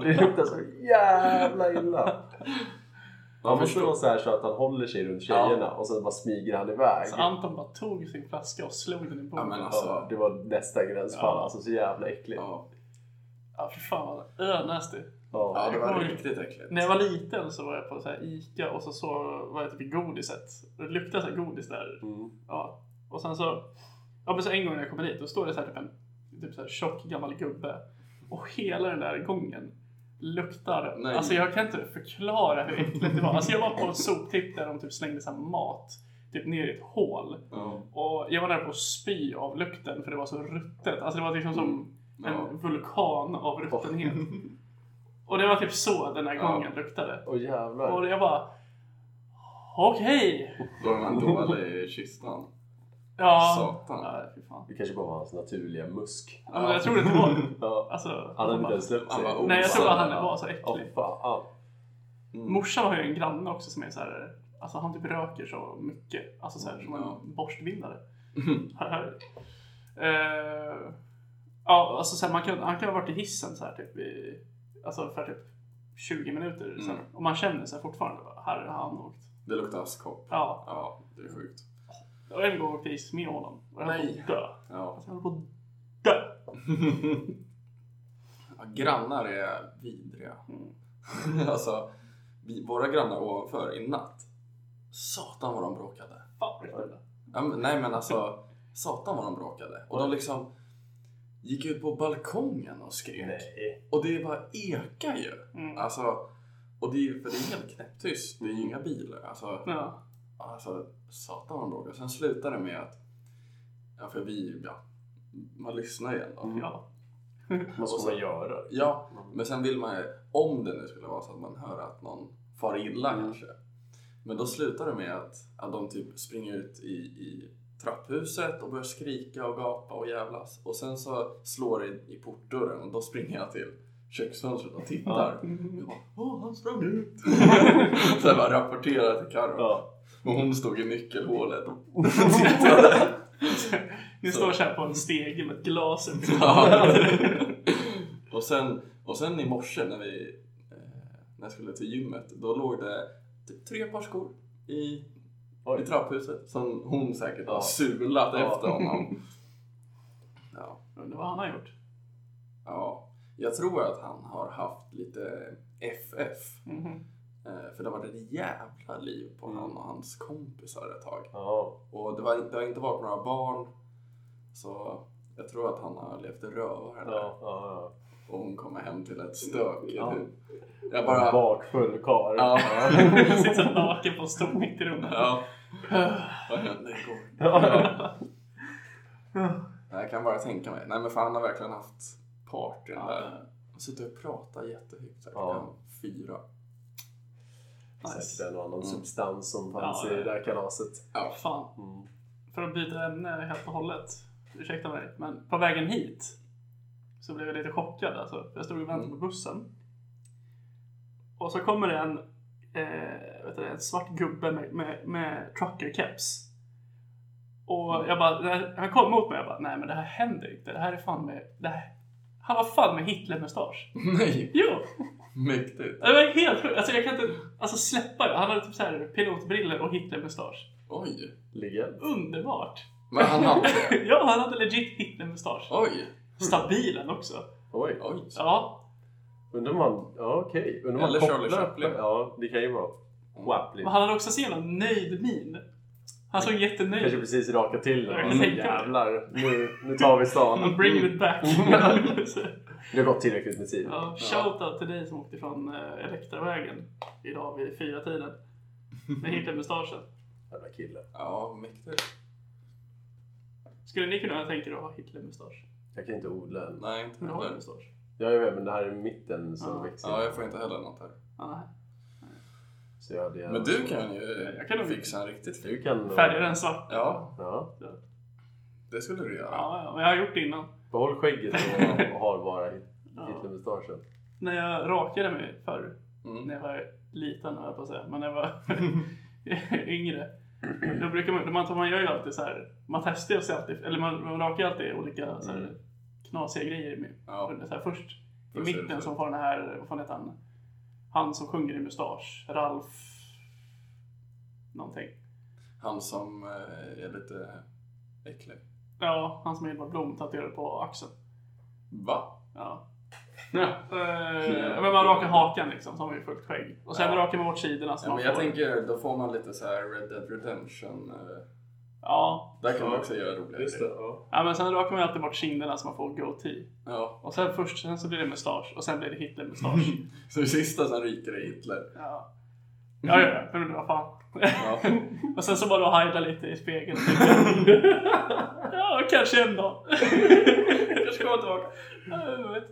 Speaker 3: dö.
Speaker 4: Det luktar så jävla illa. Man måste
Speaker 3: förstår.
Speaker 4: vara så här så att han håller sig runt tjejerna och sen bara smyger han iväg.
Speaker 2: Så Anton bara tog sin flaska och slog den i
Speaker 3: Ja, men
Speaker 2: bordet.
Speaker 3: alltså.
Speaker 4: Ja, det var nästa gränsfall,
Speaker 2: Ja.
Speaker 4: alltså så jävla äckligt. Ja.
Speaker 3: Ja.
Speaker 2: Ja, fy fan vad önasty.
Speaker 3: ja, det var
Speaker 2: Oj.
Speaker 3: riktigt äckligt.
Speaker 2: När jag var liten så var jag på så här Ica och så, så var jag typ i godiset. Det luktade så här godis där.
Speaker 4: Mm.
Speaker 2: Ja. Och sen så, ja men så en gång när jag kommer dit, då står det så här typ en typ så här tjock gammal gubbe. Och hela den där gången luktar,
Speaker 3: Nej.
Speaker 2: alltså jag kan inte förklara hur äckligt det var. Alltså jag var på en soptipp där de typ slängde så här mat, typ ner i ett hål.
Speaker 3: Ja.
Speaker 2: Och jag var nära på att spy av lukten för det var så ruttet. Alltså det var liksom som
Speaker 3: Ja.
Speaker 2: en vulkan av ruttenhet. Och det var typ så den här
Speaker 3: Ja.
Speaker 2: gången luktade.
Speaker 4: Och jävlar.
Speaker 2: Och jag bara... Okej!
Speaker 3: Då är man dålig i kistan.
Speaker 2: Ja.
Speaker 3: Satan.
Speaker 2: Nej, fy fan.
Speaker 4: Det kanske bara var hans naturliga musk.
Speaker 2: Ja, men jag tror det inte var...
Speaker 4: Ja.
Speaker 2: Alltså,
Speaker 4: Han hade
Speaker 2: bara-
Speaker 4: inte ens släppt sig.
Speaker 3: Han var
Speaker 2: Nej, jag tror bara han
Speaker 3: Ja.
Speaker 2: var så
Speaker 4: Åh
Speaker 2: äcklig.
Speaker 4: fan.
Speaker 3: Mm.
Speaker 2: Morsan har ju en granne också som är så här... Alltså han typ röker så mycket. Alltså så här som
Speaker 3: Ja.
Speaker 2: en borstvindare. Eh, ja, alltså så här, man kan, han kan ha varit i hissen så här typ i... Alltså för typ 20 minuter sen.
Speaker 3: Mm.
Speaker 2: Och man känner sig fortfarande bara, här har han åkt.
Speaker 3: Det luktar askkopp.
Speaker 2: Ja.
Speaker 3: Ja, det är sjukt.
Speaker 2: Och en gång åkte jag hiss med honom. Och jag höll på
Speaker 3: Nej.
Speaker 2: att dö.
Speaker 3: Ja.
Speaker 2: Alltså jag höll på att dö.
Speaker 3: Ja, Grannar är vidriga.
Speaker 2: Mm.
Speaker 3: alltså, vi, våra grannar ovanför i natt. Satan vad de bråkade.
Speaker 2: Fan vad äckligt.
Speaker 3: Ja, men, nej men alltså, satan vad de bråkade. Och de liksom gick ut på balkongen och skrek.
Speaker 4: Nej.
Speaker 3: Och det bara ekar ju.
Speaker 2: Mm.
Speaker 3: Alltså, och det är ju, för det är helt knäpptyst. Det är ju inga bilar. Alltså,
Speaker 2: Ja.
Speaker 3: alltså satan vad de bråkade. Sen slutade det med att, ja för vi, ja, man lyssnar igen då.
Speaker 2: ja.
Speaker 4: Vad
Speaker 3: Och
Speaker 4: ska
Speaker 3: så-
Speaker 4: man göra?
Speaker 3: Ja, men sen vill man ju, om det nu skulle vara så att man hör att någon far illa kanske. Men då slutar det med att, att de typ springer ut i, i trapphuset och börjar skrika och gapa och jävlas. Och sen så slår det i, i portdörren och då springer jag till köksfönstret och tittar. Jag bara, Åh, han sprang ut! så jag bara rapporterar till Karo.
Speaker 4: Ja.
Speaker 3: Och hon stod i nyckelhålet och
Speaker 2: Ni
Speaker 3: Så.
Speaker 2: står så här på en stege med ett glas ut.
Speaker 3: Ja. och, sen, och sen i morse när vi eh, när jag skulle till gymmet, då låg det typ tre par skor i, i
Speaker 4: Oj.
Speaker 3: trapphuset som hon säkert har
Speaker 4: Ja.
Speaker 3: sulat
Speaker 4: Ja.
Speaker 3: efter honom. Ja,
Speaker 2: Undrar vad han har gjort.
Speaker 3: ja. Jag tror att han har haft lite FF.
Speaker 2: Mhm.
Speaker 3: eh, För det var ett jävla liv
Speaker 4: Mm.
Speaker 3: på han och hans kompisar ett tag.
Speaker 4: Ja.
Speaker 3: Och det, var, det har inte varit några barn. Så jag tror att han har levt rövare där.
Speaker 4: Ja. ja.
Speaker 3: och hon kommer hem till ett stök. typ.
Speaker 4: Ja.
Speaker 3: Jag
Speaker 4: Bara...
Speaker 3: bara...
Speaker 4: Bakfull karl.
Speaker 3: Ja.
Speaker 2: Sitter så naken på en stol mitt i rummet.
Speaker 3: ja. Vad hände igår?
Speaker 4: Ja.
Speaker 3: Nej, Jag kan bara tänka mig. Nej men för han har verkligen haft partyn
Speaker 2: Ja.
Speaker 3: där. Han sitter och pratar jättehögt. Säkert
Speaker 4: Ja.
Speaker 3: ja. fyra.
Speaker 2: Nice.
Speaker 4: Säkert en och annan
Speaker 3: Mm.
Speaker 4: substans som fanns
Speaker 2: Ja,
Speaker 4: i
Speaker 2: ja.
Speaker 4: det här kalaset.
Speaker 3: Ja.
Speaker 2: Fan. För att byta ämne helt och hållet. Ursäkta mig. Men på vägen hit så blev jag lite chockad alltså. Jag stod och väntade på bussen. Och så kommer det en, eh, vet du, det, en svart gubbe med, med, med trucker-caps. Och jag bara, när han kom mot mig jag bara, nej men det här händer inte. Det här är fan med, det här, han har fan med Hitler-mustasch.
Speaker 3: Nej,
Speaker 2: Jo!
Speaker 3: mäktigt.
Speaker 2: Det var helt sjukt. Alltså jag kan inte alltså, släppa det. Han hade typ så här pilotbriller och Hitler-mustasch.
Speaker 3: Oj.
Speaker 4: Ligger.
Speaker 2: Underbart!
Speaker 3: Men han hade det.
Speaker 2: ja, han hade legit Hitler-mustasch.
Speaker 3: Oj.
Speaker 2: Stabilen också.
Speaker 4: Oj.
Speaker 3: Oj.
Speaker 2: Ja,
Speaker 4: Undrar man... Ja, okej. Undrar man
Speaker 3: Eller Charlie
Speaker 4: kopplar-
Speaker 3: Chaplin.
Speaker 4: Ja, det kan ju vara Chaplin.
Speaker 2: men han hade också så jävla nöjd min. Han såg
Speaker 4: Kanske
Speaker 2: jättenöjd ut.
Speaker 4: precis raka till det.
Speaker 2: Jag kan
Speaker 4: Mm.
Speaker 2: tänka mig.
Speaker 4: Jävlar, nu, nu tar vi stan.
Speaker 2: I'm bringing it back.
Speaker 4: Det har gått tillräckligt med tid.
Speaker 2: ja, shoutout till dig som åkte från eh, Elektravägen idag vid fyra tiden Med Hitler-mustaschen.
Speaker 4: Jävla kille.
Speaker 3: Ja, mäktigt.
Speaker 2: Skulle ni kunna tänka er att ha Hitler-mustasch?
Speaker 4: Jag kan inte odla en.
Speaker 3: Nej, inte
Speaker 2: Men du har ju
Speaker 3: heller.
Speaker 2: mustasch.
Speaker 4: Jag är med, men det här är mitten som
Speaker 2: Ja.
Speaker 4: växer.
Speaker 3: Ja, jag får inte heller något här.
Speaker 2: Ja,
Speaker 4: Så jag hade gärna-
Speaker 3: Men du kan ju
Speaker 2: Jag kan nog-
Speaker 3: fixa en riktigt fin.
Speaker 4: Du kan...
Speaker 2: Färgare än svart.
Speaker 3: Ja,
Speaker 4: Ja.
Speaker 3: det skulle du göra.
Speaker 2: Ja, ja, men jag har gjort det innan.
Speaker 4: Behåll skägget och, och har bara hit-
Speaker 2: Ja.
Speaker 4: Hitlermustaschen.
Speaker 2: När jag rakade mig förr, när
Speaker 3: Mm.
Speaker 2: jag var liten höll jag på att säga, men när jag var yngre. Då brukar man, man, man gör ju alltid så här, man testar sig alltid, eller man, man rakar alltid olika så här,
Speaker 4: Mm.
Speaker 2: knasiga grejer. Med,
Speaker 3: Ja.
Speaker 2: så här, först i
Speaker 3: Först är det
Speaker 2: mitten
Speaker 3: så.
Speaker 2: som får den här, vad fan heter han? Han som sjunger i mustasch, Ralf någonting.
Speaker 3: Han som eh, är lite äcklig.
Speaker 2: Ja, han som Edvard Blom tatuerade på axeln.
Speaker 3: Va?
Speaker 2: Ja.
Speaker 3: Ja,
Speaker 2: Eh, men man rakar hakan liksom, som har ju fullt skägg. Och sen
Speaker 3: Ja.
Speaker 2: rakar man bort sidorna. Så man
Speaker 3: men jag
Speaker 2: får-
Speaker 3: tänker, då får man lite så här Red Dead Redemption. eh,
Speaker 2: Ja,
Speaker 3: Där kan man
Speaker 4: Ja.
Speaker 3: också göra roliga
Speaker 4: ja.
Speaker 2: Ja men sen rakar man ju alltid bort kinderna så man får goatee.
Speaker 3: Ja.
Speaker 2: Och sen först, sen så blir det mustasch och sen blir det Hitler-mustasch.
Speaker 3: Så det sista som ryker är Hitler.
Speaker 2: ja. ja, ja, ja. Men vad fan.
Speaker 3: Ja.
Speaker 2: och sen så bara hajda lite i spegeln. ja, kanske en dag. kanske kommer tillbaka. Ja, jag vet.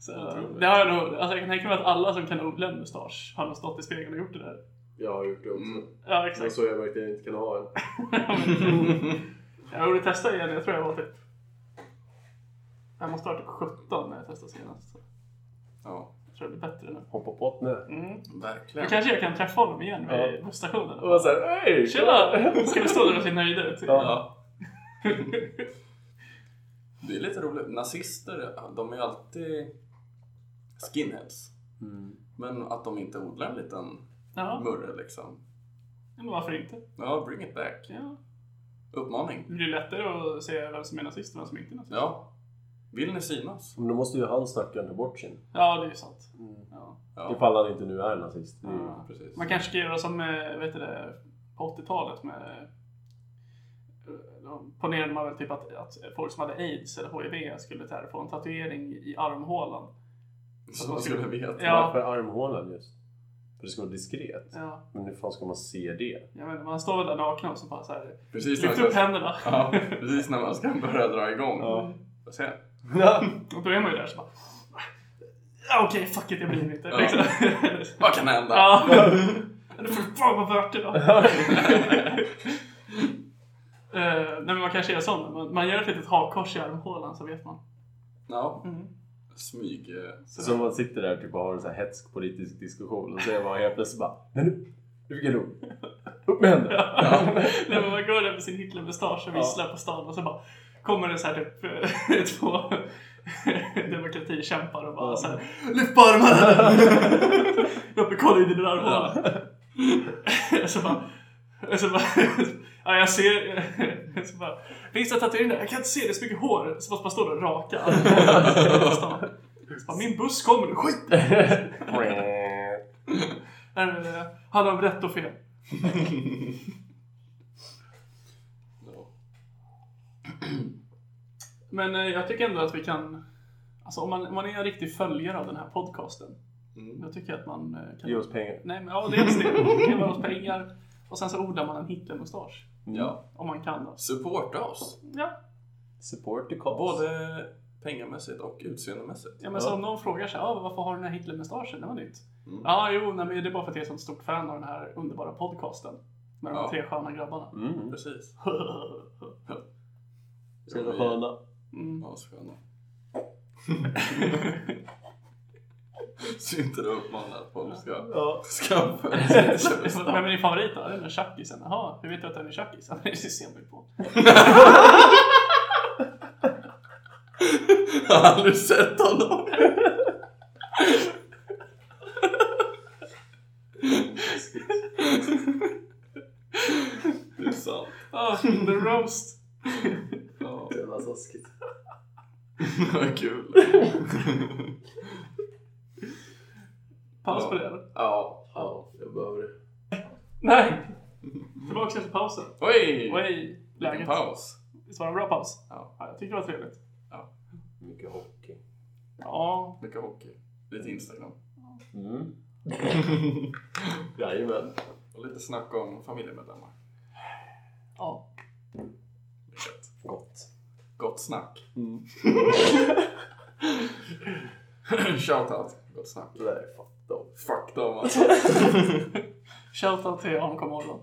Speaker 2: Så,
Speaker 3: Otroligt.
Speaker 2: det har jag nog, alltså jag kan tänka mig att alla som kan odla en mustasch har nog stått i spegeln och gjort det där.
Speaker 4: Jag har gjort det också.
Speaker 3: Mm.
Speaker 2: Ja,
Speaker 4: Det var
Speaker 2: exakt.
Speaker 4: så jag verkligen inte kan ha en.
Speaker 2: jag borde testa igen, jag tror jag var typ... Jag måste ha varit typ 17 när jag testade senast. Så
Speaker 3: ja,
Speaker 2: jag tror det blir bättre nu.
Speaker 4: Hoppa på ett nu.
Speaker 2: Mm. Då
Speaker 3: verkligen.
Speaker 2: kanske jag kan träffa honom igen
Speaker 4: Ja.
Speaker 2: vid busstationen.
Speaker 4: Och såhär, hej!
Speaker 2: Tjena! Ska vi stå där och se nöjda ut?
Speaker 4: Ja.
Speaker 3: Ja. Det är lite roligt. Nazister, de är ju alltid skinheads.
Speaker 4: Mm.
Speaker 3: Men att de inte odlar en liten
Speaker 2: Ja,
Speaker 3: murre liksom.
Speaker 2: men varför inte?
Speaker 3: Ja, bring it back.
Speaker 2: Ja.
Speaker 3: Uppmaning.
Speaker 2: Det blir lättare att se vem som är nazist och vem som inte är nazist.
Speaker 3: Ja. Vill ni synas?
Speaker 4: Men då måste ju han stackaren ta bort sin.
Speaker 2: Ja, det är ju sant. Ja.
Speaker 3: Ja,
Speaker 4: Ifall han inte nu är nazist. Det är ju-
Speaker 2: Ja.
Speaker 3: precis.
Speaker 2: Man kanske ska göra som eh, vet du det, på 80-talet med... eh, då Ponerade man väl typ att, att folk som hade aids eller hiv skulle så här få en tatuering i armhålan.
Speaker 3: Så man skulle veta.
Speaker 2: Ja.
Speaker 4: Varför armhålan just? För det ska vara diskret.
Speaker 2: Ja,
Speaker 4: Men hur fan ska man se det?
Speaker 2: jag menar, man står väl där nakna och så bara så här,
Speaker 3: Precis
Speaker 2: lyft upp
Speaker 3: när,
Speaker 2: händerna.
Speaker 3: ja, precis när man ska börja dra igång.
Speaker 4: Ja.
Speaker 3: Och sen,
Speaker 4: Mm.
Speaker 2: Och då är man ju där så bara... "Ja, Okej, fuck it, jag blir inte.
Speaker 3: Ja.
Speaker 2: Liksom.
Speaker 3: vad kan hända?
Speaker 2: ja. Eller för fan vad värt det då. Eh, nej men man kanske gör sån. Man, man gör ett litet hakkors i armhålan så vet man.
Speaker 3: Ja,
Speaker 2: Mm.
Speaker 3: smyg... eh,
Speaker 2: Så,
Speaker 4: Så man sitter där typ och har en sån här hetsk politisk diskussion och så är man helt plötsligt bara Nej nu! Nu fick jag nog! Upp med händerna!
Speaker 2: Nej, men man går där med sin Hitler-mustasch och visslar på stan och så bara kommer det så här typ eh, två demokratikämpar och bara så här Lyft på armarna! Rope kolla in i din armhåla. så bara... Så bara ja, jag ser... Så bara, Finns det tatuering där? Jag kan inte se, det är så mycket hår. Så måste man stå där och raka. Så bara, Min buss kommer nu, skit Nej, nej, nej. Han har rätt och fel.
Speaker 3: ja.
Speaker 2: Men eh, jag tycker ändå att vi kan... Alltså om man, om man är en riktig följare av den här podcasten.
Speaker 3: Mm.
Speaker 2: Då tycker jag att man eh, kan...
Speaker 4: Ge oss pengar!
Speaker 2: Nej, men ja, dels det. Man kan vara oss pengar. Och sen så odlar man en
Speaker 4: Mm.
Speaker 2: Hitlermustasch.
Speaker 3: ja.
Speaker 2: Om man kan då.
Speaker 3: Supporta oss.
Speaker 2: Ja.
Speaker 4: Support the cause!
Speaker 3: Både pengamässigt och utseendemässigt.
Speaker 2: Ja, men så om någon frågar sig, ah, varför har du den här Hitler-mustaschen? Det var nytt.
Speaker 3: Mm.
Speaker 2: Ja, ah, jo, nej, men det är bara för att jag är så stort fan av den här underbara podcasten. Med de
Speaker 3: Ja.
Speaker 2: tre sköna grabbarna.
Speaker 4: Mm.
Speaker 3: Precis.
Speaker 4: Så jävla sköna.
Speaker 2: mm.
Speaker 3: Assköna. Så inte det uppmanar att folk ska
Speaker 4: Ja.
Speaker 3: skaffa en
Speaker 2: Vem
Speaker 3: sexuell-
Speaker 2: är din favorit då? Det är den där tjackisen. Jaha, hur vet du att den är tjackis? Ja, Det ser man ju på.
Speaker 3: Jag har aldrig sett honom. Det är sant.
Speaker 2: Ah, the roast!
Speaker 3: Ja,
Speaker 4: Jävla taskigt.
Speaker 3: vad kul.
Speaker 2: Paus
Speaker 3: Ja.
Speaker 2: på det eller?
Speaker 3: Ja.
Speaker 4: Ja, jag behöver det.
Speaker 2: Nej! Tillbaka efter pausen.
Speaker 3: Oj!
Speaker 2: Vad är
Speaker 3: Vilken
Speaker 2: läget?
Speaker 3: paus.
Speaker 2: Visst var det en bra paus?
Speaker 3: Ja,
Speaker 2: Ja, jag tyckte det var trevligt.
Speaker 4: Mycket hockey.
Speaker 2: Ja,
Speaker 3: mycket hockey. Lite Instagram.
Speaker 4: Mm. Jajamän.
Speaker 3: Och lite snack om familjemedlemmar.
Speaker 2: ja.
Speaker 3: Gött.
Speaker 4: Gott.
Speaker 3: Gott snack.
Speaker 4: Mm.
Speaker 3: Shoutout. Gott snack.
Speaker 4: Nej, fuck dem.
Speaker 3: Fuck dem alltså.
Speaker 2: Shoutout till AMK morgon.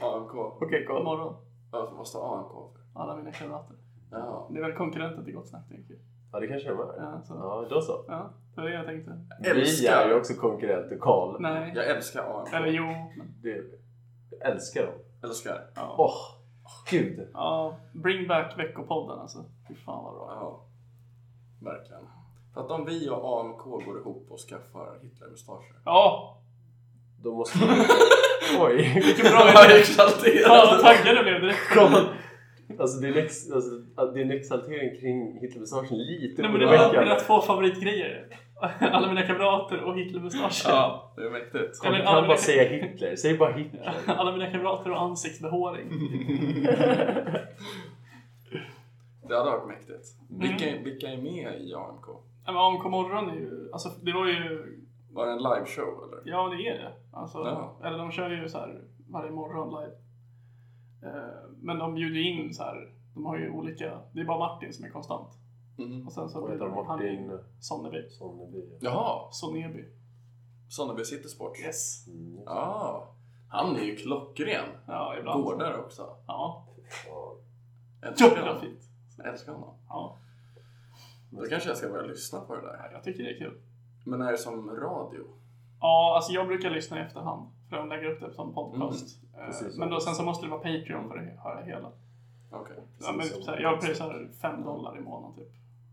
Speaker 3: AMK.
Speaker 2: Okej, god morgon.
Speaker 3: Varför måste AMK för?
Speaker 2: Alla mina kamrater.
Speaker 3: Ja.
Speaker 2: Det är väl konkurrenten till Gott Snack, tänker jag.
Speaker 4: Ja, det kanske de är.
Speaker 2: Ja, så.
Speaker 4: Ja, då så.
Speaker 2: ja, det var det jag tänkte.
Speaker 3: Älskar.
Speaker 4: Vi är ju också konkurrent till Karl.
Speaker 2: Nej.
Speaker 3: Jag älskar AMK.
Speaker 2: Eller jo, men
Speaker 4: Det jag älskar dem.
Speaker 3: Älskar.
Speaker 2: ja.
Speaker 4: Åh, gud.
Speaker 2: Ja, bring back veckopodden alltså. Fy fan vad bra.
Speaker 3: Ja. Verkligen. För att om vi och AMK går ihop och skaffar Hitlermustascher.
Speaker 2: Ja,
Speaker 4: Då måste vi... Oj.
Speaker 2: vilken bra
Speaker 3: Jag är
Speaker 2: idé! Fan vad
Speaker 3: exalterad.
Speaker 2: taggad jag blev direkt.
Speaker 4: Karl. Alltså din, ex, alltså att din exaltering kring Hitlermustaschen är lite
Speaker 2: Nej, men det var
Speaker 4: oroväckande.
Speaker 2: mina två favoritgrejer. Alla mina kamrater och Hitlermustaschen.
Speaker 3: Ja, det är mäktigt.
Speaker 4: Karl, Du
Speaker 2: men
Speaker 4: kan
Speaker 2: alla-
Speaker 4: bara säga Hitler. Säg bara Hitler.
Speaker 2: Alla mina kamrater och
Speaker 4: Mm.
Speaker 2: ansiktsbehåring.
Speaker 3: Det hade varit mäktigt.
Speaker 2: Mm.
Speaker 3: Vilka, vilka är med i AMK?
Speaker 2: Nej, men AMK morgon är ju, alltså det var ju,
Speaker 3: Var det en liveshow eller?
Speaker 2: ja det är det. Alltså,
Speaker 3: Ja.
Speaker 2: Eller de kör ju så här varje morgon live. Eh, Men de bjuder in så här, de har ju olika, det är bara Martin som är konstant.
Speaker 3: Mm.
Speaker 2: Och sen så
Speaker 4: Vad
Speaker 2: blir
Speaker 4: heter han?
Speaker 2: det han
Speaker 4: Martin
Speaker 2: Sonneby.
Speaker 4: Sonneby.
Speaker 3: Jaha,
Speaker 2: Sonneby.
Speaker 3: Sonneby City Sports.
Speaker 2: Yes.
Speaker 4: Mm.
Speaker 3: Ja, han är ju klockren.
Speaker 2: Ja, ibland.
Speaker 3: Gårdare också.
Speaker 2: Ja.
Speaker 4: Ja.
Speaker 3: Älskar
Speaker 2: Det var
Speaker 3: honom.
Speaker 2: fint.
Speaker 3: Jag älskar honom.
Speaker 2: Ja,
Speaker 3: Då kanske jag ska börja lyssna på det där.
Speaker 2: jag tycker det är kul.
Speaker 3: Men är det som radio?
Speaker 2: Ja, alltså jag brukar lyssna i efterhand. För de lägger upp det som podcast. Eh,
Speaker 4: Precis.
Speaker 2: men då, sen så måste det vara Patreon för att höra hela.
Speaker 3: Okej.
Speaker 2: Ja, men, typ, så här, jag pröjsar 5 dollar i månaden typ.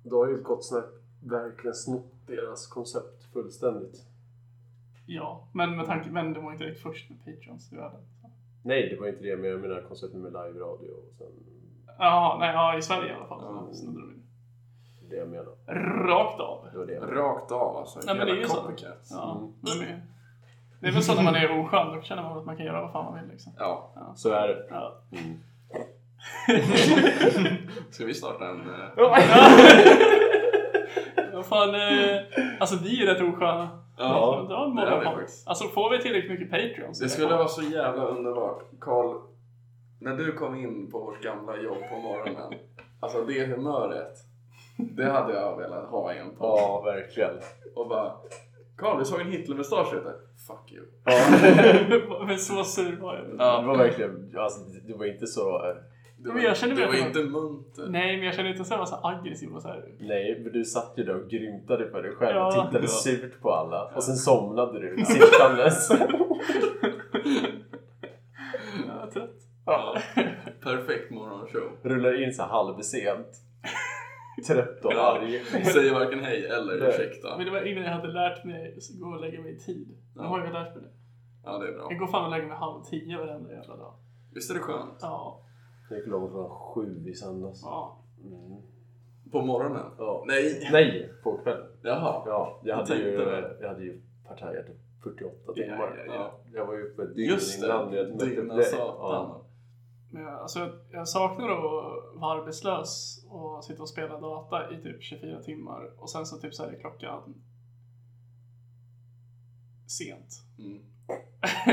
Speaker 4: Då har ju Gott Snack verkligen snott deras koncept fullständigt.
Speaker 2: Ja, men med tanke men det var inte direkt först med Patreons i världen. så.
Speaker 4: Nej, det var inte det. Men jag menar konceptet med live-radio och sen
Speaker 2: Jaha, nej, ja, i Sverige i alla fall. Så
Speaker 3: Ja.
Speaker 2: snodde de in.
Speaker 4: det jag menar.
Speaker 2: Rakt av.
Speaker 4: Det var det jag menade.
Speaker 3: Rakt av alltså.
Speaker 2: Nej, men det är ju
Speaker 3: Jävla
Speaker 2: så.
Speaker 3: copycat.
Speaker 2: Ja,
Speaker 4: Mm.
Speaker 2: men det- det är väl så när man är oskön, då känner man att man kan göra vad fan man vill liksom.
Speaker 3: Ja.
Speaker 4: Så är det.
Speaker 2: Ja.
Speaker 4: Mm.
Speaker 3: Ska vi starta en... eh,
Speaker 2: Vad fan, eh, alltså vi är rätt osköna.
Speaker 4: Ja.
Speaker 2: Dra en
Speaker 3: det är vi
Speaker 2: morgonpod.
Speaker 3: faktiskt.
Speaker 2: Alltså får vi tillräckligt mycket Patreons?
Speaker 3: Det skulle vara så jävla underbart. Karl, när du kom in på vårt gamla jobb på morgonen. Alltså det humöret. Det hade jag velat ha i en podd.
Speaker 4: Ja, verkligen.
Speaker 3: Och bara... Karl, du såg en Hitlermustasch ute. Fuck you.
Speaker 2: Men så sur var jag.
Speaker 4: Ja, det var verkligen... Alltså, det var inte så... eh,
Speaker 3: Du,
Speaker 2: Men jag känner
Speaker 3: du
Speaker 2: mig
Speaker 3: var
Speaker 2: att-
Speaker 3: inte munter.
Speaker 2: Nej, men jag känner inte så här, så här aggressiv och så här.
Speaker 4: Nej, men du satt ju där och grymtade på dig själv och
Speaker 2: Ja.
Speaker 4: tittade
Speaker 3: Ja.
Speaker 4: surt på alla. Och sen somnade du sittandes.
Speaker 2: Jag är trött.
Speaker 3: Ja. Perfekt morgonshow.
Speaker 4: Rullar in så här halvsent. Trött och
Speaker 3: Ja.
Speaker 4: arg.
Speaker 3: Säger varken hej eller
Speaker 4: Nej.
Speaker 3: ursäkta.
Speaker 2: Men det var innan jag hade lärt mig att gå och lägga mig i tid. Nu
Speaker 3: Ja.
Speaker 2: har jag lärt mig det.
Speaker 3: Ja, det är bra.
Speaker 2: Jag går fan och lägger mig halv tio varenda jävla dag.
Speaker 3: Visst är det skönt?
Speaker 2: Ja.
Speaker 4: Jag gick långt från sju i söndags.
Speaker 2: ja.
Speaker 4: Mm.
Speaker 3: På morgonen?
Speaker 4: Ja.
Speaker 3: Nej!
Speaker 4: Nej, på kvällen.
Speaker 3: Jaha.
Speaker 4: Ja, jag
Speaker 3: Jag
Speaker 4: hade ju,
Speaker 3: tänkte det.
Speaker 4: jag hade ju partajat i 48
Speaker 2: Ja,
Speaker 4: timmar.
Speaker 2: ja,
Speaker 3: ja.
Speaker 4: Jag var ju uppe ett dygn
Speaker 3: Just
Speaker 4: innan
Speaker 3: det.
Speaker 4: jag mötte upp
Speaker 3: Dygna
Speaker 4: dig.
Speaker 3: satan.
Speaker 2: Men jag, alltså, jag- jag saknar att vara arbetslös och sitta och spela data i typ 24 timmar och sen så typ så här är klockan sent.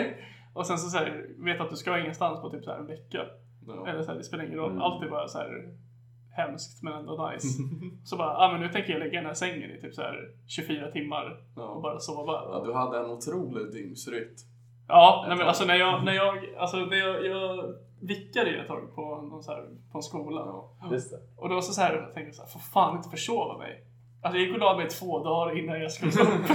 Speaker 3: Mm.
Speaker 2: och sen så, så här, vet att du ska ingenstans på typ så här en vecka.
Speaker 3: Ja.
Speaker 2: Eller så här, det spelar ingen roll.
Speaker 4: Mm.
Speaker 2: Allt är bara så här hemskt men ändå nice. Så bara, ah, men nu tänker jag lägga den här sängen i typ så här 24 timmar och
Speaker 3: Ja.
Speaker 2: bara sova.
Speaker 3: Ja, du hade en otrolig dygnsrytm.
Speaker 2: Ja, nej, men alltså när jag, när jag, alltså när jag, jag vickade ju ett tag på, någon så här, på en skola.
Speaker 4: Just det.
Speaker 2: Och då så, så här, jag tänkte jag så här, får fan inte försova mig. Alltså jag gick och la mig två dagar innan jag skulle upp.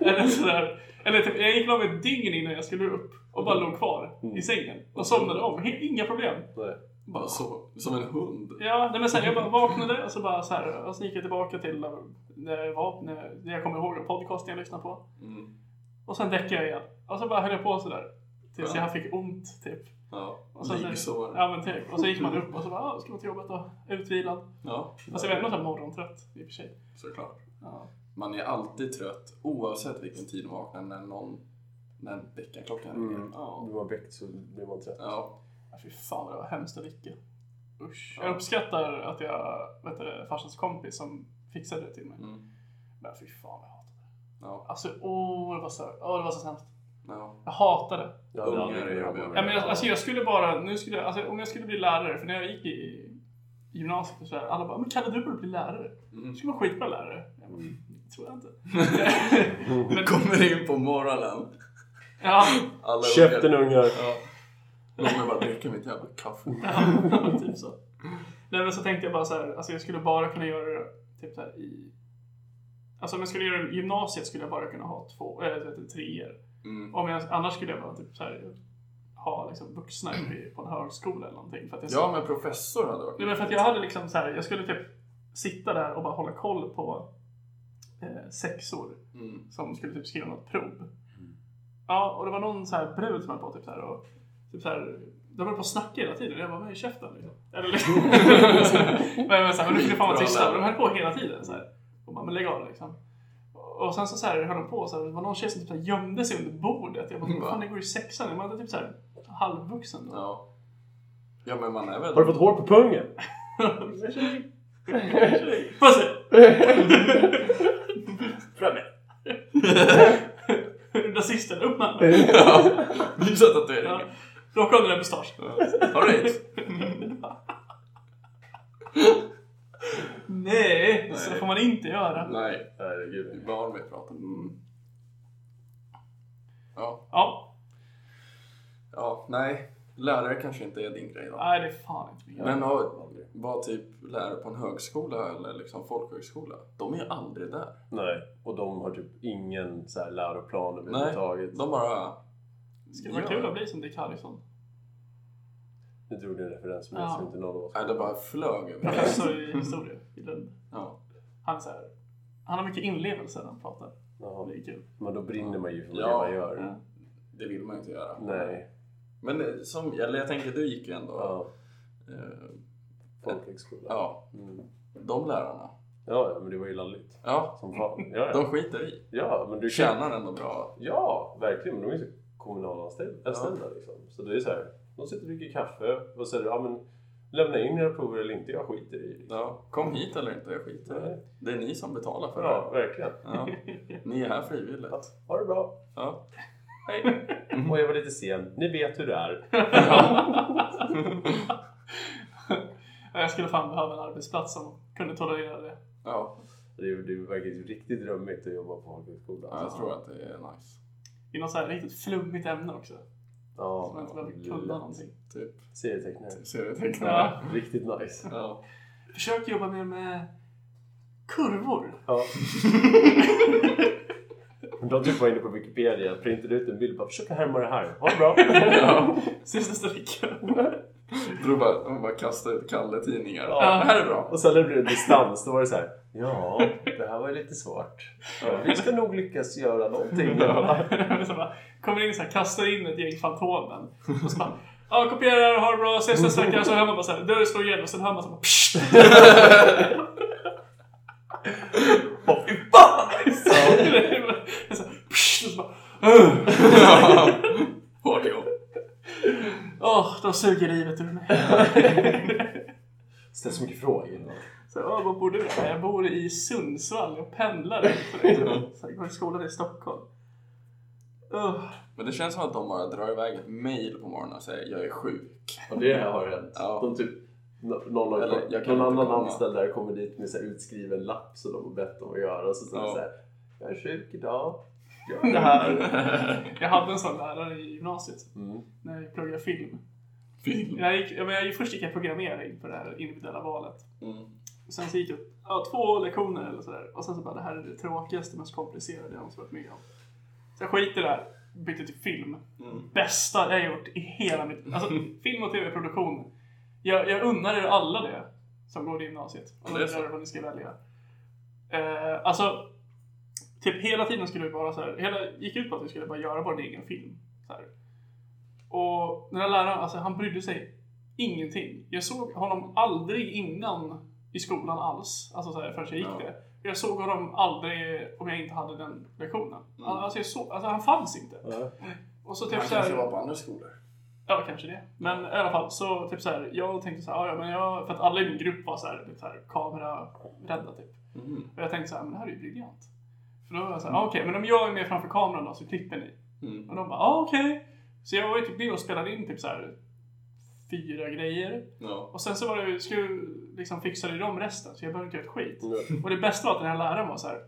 Speaker 2: eller sådär. Eller typ, jag gick och la mig ett dygn innan jag skulle upp och bara låg kvar i sängen och somnade om. He- Inga problem.
Speaker 4: Nej.
Speaker 3: Bara så, som en hund.
Speaker 2: Ja, nej, men sen jag bara vaknade och så bara så här, och så gick jag tillbaka till eh, när jag var, när när jag kommer ihåg en podcast jag lyssnade på.
Speaker 3: Mm.
Speaker 2: Och sen däckade jag igen. Och så bara höll jag på sådär. Tills
Speaker 3: Ja.
Speaker 2: jag fick ont typ.
Speaker 3: Ja,
Speaker 2: Och sen-
Speaker 3: liggsår.
Speaker 2: Ja men typ. Och så gick man upp och så bara, ah, ska man till jobbet då? Utvilad.
Speaker 3: Ja,
Speaker 2: Fast jag var ändå så här morgontrött i och för sig.
Speaker 3: såklart.
Speaker 2: Ja.
Speaker 3: Man är alltid trött oavsett vilken tid man vaknar när någon, när väckarklockan ringer.
Speaker 4: Mm.
Speaker 2: Ja.
Speaker 4: Om du har väckt så blir man trött.
Speaker 3: Ja,
Speaker 2: Ja, Fy fan vad det var hemskt att dricka. Usch.
Speaker 3: Ja.
Speaker 2: Jag uppskattar att jag, vet du, farsans kompis som fixade det till mig.
Speaker 3: mm.
Speaker 2: Men fy fan vad jag hatade det.
Speaker 3: ja,
Speaker 2: Alltså åh, det var så, åh, det var så hemskt.
Speaker 3: ja.
Speaker 2: Jag hatade det.
Speaker 4: Ja,
Speaker 3: Ungar
Speaker 4: det-
Speaker 3: är jobbiga.
Speaker 2: Ja, men jag, alltså jag skulle bara, nu skulle jag, alltså, om jag skulle bli lärare, för när jag gick i gymnasiet och sådär, alla bara, men Kalle du borde bli lärare.
Speaker 3: Mm.
Speaker 2: Du skulle vara skitbra lärare. Jag bara, "Det tror jag inte.
Speaker 3: Vi kommer in på morgonen.
Speaker 2: Ja,
Speaker 3: Alla
Speaker 4: Käften ungar!
Speaker 3: Ja. Låt mig bara dricka mitt jävla kaffe.
Speaker 2: ja, typ så. Nej men så tänkte jag bara så här, alltså jag skulle bara kunna göra det typ så här i... Alltså om jag skulle göra det i gymnasiet skulle jag bara kunna ha två, eller äh, treor.
Speaker 3: Mm.
Speaker 2: Om jag, annars skulle jag bara typ så här, ha liksom vuxna i- på en högskola eller någonting. För att jag,
Speaker 3: Ja, men professor hade varit
Speaker 2: Nej, men för att jag hade liksom så här, jag skulle typ sitta där och bara hålla koll på eh, sexor
Speaker 3: Mm.
Speaker 2: som skulle typ skriva något prov. Ja, och det var någon så här brud som höll på typ så här och typ så här, de höll på att snacka hela tiden. Jag bara, men käften liksom. Eller liksom. men, men, så här, men nu kan fan vara
Speaker 3: Bra
Speaker 2: tysta.
Speaker 3: lärare.
Speaker 2: De höll på hela tiden så här. Och bara, men lägg av liksom. Och sen så, så här höll de på så här, det var någon tjej som typ så här gömde sig under bordet. Jag bara, men fan det går ju sexan. Man är typ så här halvvuxen då.
Speaker 3: Ja. Ja, men man är väl...
Speaker 4: Har du fått hår på pungen?
Speaker 2: Puss it!
Speaker 4: Fram med!
Speaker 2: Rasisten, upp med honom.
Speaker 3: Ja. Visa
Speaker 2: Ja.
Speaker 3: tatueringen.
Speaker 2: Rocka under den mustaschen.
Speaker 3: All right.
Speaker 2: Nej, så
Speaker 3: Nej.
Speaker 2: får man inte göra.
Speaker 3: Nej, det är
Speaker 4: Herregud.
Speaker 3: barn vi pratar med. Ja,
Speaker 2: Ja,
Speaker 3: ja, nej. Lärare kanske inte är din grej då.
Speaker 2: nej det är fan inte min grej.
Speaker 3: Men har, var typ lärare på en högskola eller liksom folkhögskola, de är ju aldrig där.
Speaker 4: Nej, och de har typ ingen så här läroplan
Speaker 3: Nej,
Speaker 4: överhuvudtaget.
Speaker 3: de bara...
Speaker 2: Ska det vara kul att bli som Dick Harrison?
Speaker 4: Nu drog du en referens som
Speaker 2: Ja.
Speaker 4: jag tror inte någon av oss...
Speaker 3: Nej, det bara flög över.
Speaker 2: Professor i historia i Lund.
Speaker 3: Ja.
Speaker 2: Han är så här, han har mycket inlevelse när han pratar.
Speaker 4: Jaha.
Speaker 2: Det är kul.
Speaker 4: Men då brinner man ju för
Speaker 3: Ja. Mm.
Speaker 4: det man gör.
Speaker 2: Ja.
Speaker 3: Det vill man ju inte göra.
Speaker 4: Nej.
Speaker 3: Men eh, som, eller jag tänker, du gick ju ändå.
Speaker 4: Ja.
Speaker 3: Eh,
Speaker 4: Folkhögskola.
Speaker 3: ja,
Speaker 4: Mm.
Speaker 3: de lärarna.
Speaker 4: Ja, ja, men det var ju laddigt.
Speaker 3: Ja,
Speaker 4: Som fan. Ja,
Speaker 3: de
Speaker 4: ja.
Speaker 3: skiter i.
Speaker 4: ja men du
Speaker 3: Du
Speaker 4: kan...
Speaker 3: tjänar ändå bra.
Speaker 4: Ja, verkligen. Men de är ju så kommunalanställda anställda, liksom. Så det är så här. De sitter och dricker kaffe. Vad säger du? Ja, men lämna in era prover eller inte. Jag skiter i det.
Speaker 3: Ja, kom hit eller inte, jag skiter i det.
Speaker 4: Nej.
Speaker 3: Det är ni som betalar för
Speaker 4: Ja,
Speaker 3: det.
Speaker 4: verkligen.
Speaker 3: Ja. Ni är här frivilligt.
Speaker 4: Ha det bra.
Speaker 3: Ja.
Speaker 2: Hej.
Speaker 3: Mm.
Speaker 4: Och jag var lite sen. Ni vet hur det är.
Speaker 2: Ja, Jag skulle fan behöva en arbetsplats som kunde tolerera det.
Speaker 3: Ja,
Speaker 4: Det, det verkar ju riktigt drömmigt att jobba på folkhögskola.
Speaker 3: ja, jag tror att det är nice.
Speaker 2: I något så här riktigt flummigt ämne också.
Speaker 4: Ja,
Speaker 2: Som jag inte behöver kunna någonting.
Speaker 3: Typ
Speaker 4: Serietecknare.
Speaker 3: serietecknare.
Speaker 2: Ja.
Speaker 4: Riktigt nice.
Speaker 3: Ja.
Speaker 2: Försök jobba mer med kurvor.
Speaker 4: Ja. De typ var inne på Wikipedia, printade ut en bild bara försök härma det här. Ha det bra!
Speaker 3: ja.
Speaker 2: Ses nästa vecka.
Speaker 3: Jag tror bara, de bara kastar ut Kalle-tidningar.
Speaker 4: Ja.
Speaker 3: Det här är bra.
Speaker 4: Och sen när det blev distans, då var det så här. Ja, det här var ju lite svårt. Ja, vi ska nog lyckas göra någonting. Ja.
Speaker 2: så bara, kommer in så här, kastar in ett gäng Fantomen. Och så bara, ja kopierar, ha det bra, ses nästa vecka. Så hör man bara så här, dörren slår igen och sen hör man så bara, pssst.
Speaker 4: Och fy fan alltså. vad nice!
Speaker 2: så här, pssst. Och så bara,
Speaker 3: Ja. Hårt jobb.
Speaker 2: åh, de suger livet ur mig.
Speaker 4: Ställ så mycket frågor.
Speaker 2: Så här, "Åh, var bor du? "Ja, Jag bor i Sundsvall, jag pendlar. Så här, går i skolan i Stockholm. Uh,
Speaker 3: Men det känns som att de bara drar iväg ett mail på morgonen och säger jag är sjuk.
Speaker 4: Och det har hänt.
Speaker 3: Ja.
Speaker 4: De typ Nå- Någon,
Speaker 3: Eller,
Speaker 4: Eller,
Speaker 3: jag kan
Speaker 4: någon
Speaker 3: inte
Speaker 4: annan
Speaker 3: komma.
Speaker 4: anställd där kommer dit med så här utskriven lapp som de har bett om att göra. Så står det
Speaker 3: Ja.
Speaker 4: så här, jag är sjuk idag, gör det här.
Speaker 2: Jag hade en sån lärare i gymnasiet
Speaker 4: Mm.
Speaker 2: när jag pluggade film.
Speaker 3: Film.
Speaker 2: Jag gick, ja, men jag gick, först gick jag programmering på det här individuella valet.
Speaker 3: Mm.
Speaker 2: Och sen så gick jag ja, två lektioner eller sådär. Och sen så bara, det här är det tråkigaste, mest komplicerade jag någonsin varit med om. Så jag skiter i det här. Bytte till film.
Speaker 3: Mm.
Speaker 2: Bästa jag har gjort i hela mitt... Alltså, film och tv-produktion. Jag, jag unnar er alla det som går i gymnasiet.
Speaker 3: Ja,
Speaker 2: Om
Speaker 3: det
Speaker 2: ni
Speaker 3: är så.
Speaker 2: undrar vad ni ska välja. Eh, alltså, typ hela tiden skulle vi bara så här, hela gick ut på att vi skulle bara göra vår egen film. Så här. Och den här läraren, alltså han brydde sig ingenting. Jag såg honom aldrig innan i skolan alls, alltså så här, förrän jag gick
Speaker 3: Ja.
Speaker 2: det. Jag såg honom aldrig om jag inte hade den lektionen.
Speaker 3: Mm.
Speaker 2: Alltså, jag såg, alltså han fanns inte.
Speaker 4: Ja.
Speaker 2: Och så typ
Speaker 3: Han
Speaker 2: så här,
Speaker 3: kanske var på andra skolor.
Speaker 2: Ja, kanske det. Men i alla fall, så typ så här, jag tänkte så här, "Ah, ja, men jag, för att alla i min grupp var så här, typ så här kamerarädda typ.
Speaker 3: Mm.
Speaker 2: Och jag tänkte så här, men det här är ju briljant. För då var jag så här, ah, okej, men om jag är med framför kameran då så klipper ni.
Speaker 3: Mm.
Speaker 2: Och de bara, ah, okej. Så jag var ju typ med och spelade in typ så här fyra grejer.
Speaker 3: Ja.
Speaker 2: Och sen så var det, ju- skulle ju liksom fixa det om resten, så jag behövde inte göra ett skit.
Speaker 4: Mm.
Speaker 2: Och det bästa var att den här läraren var så här,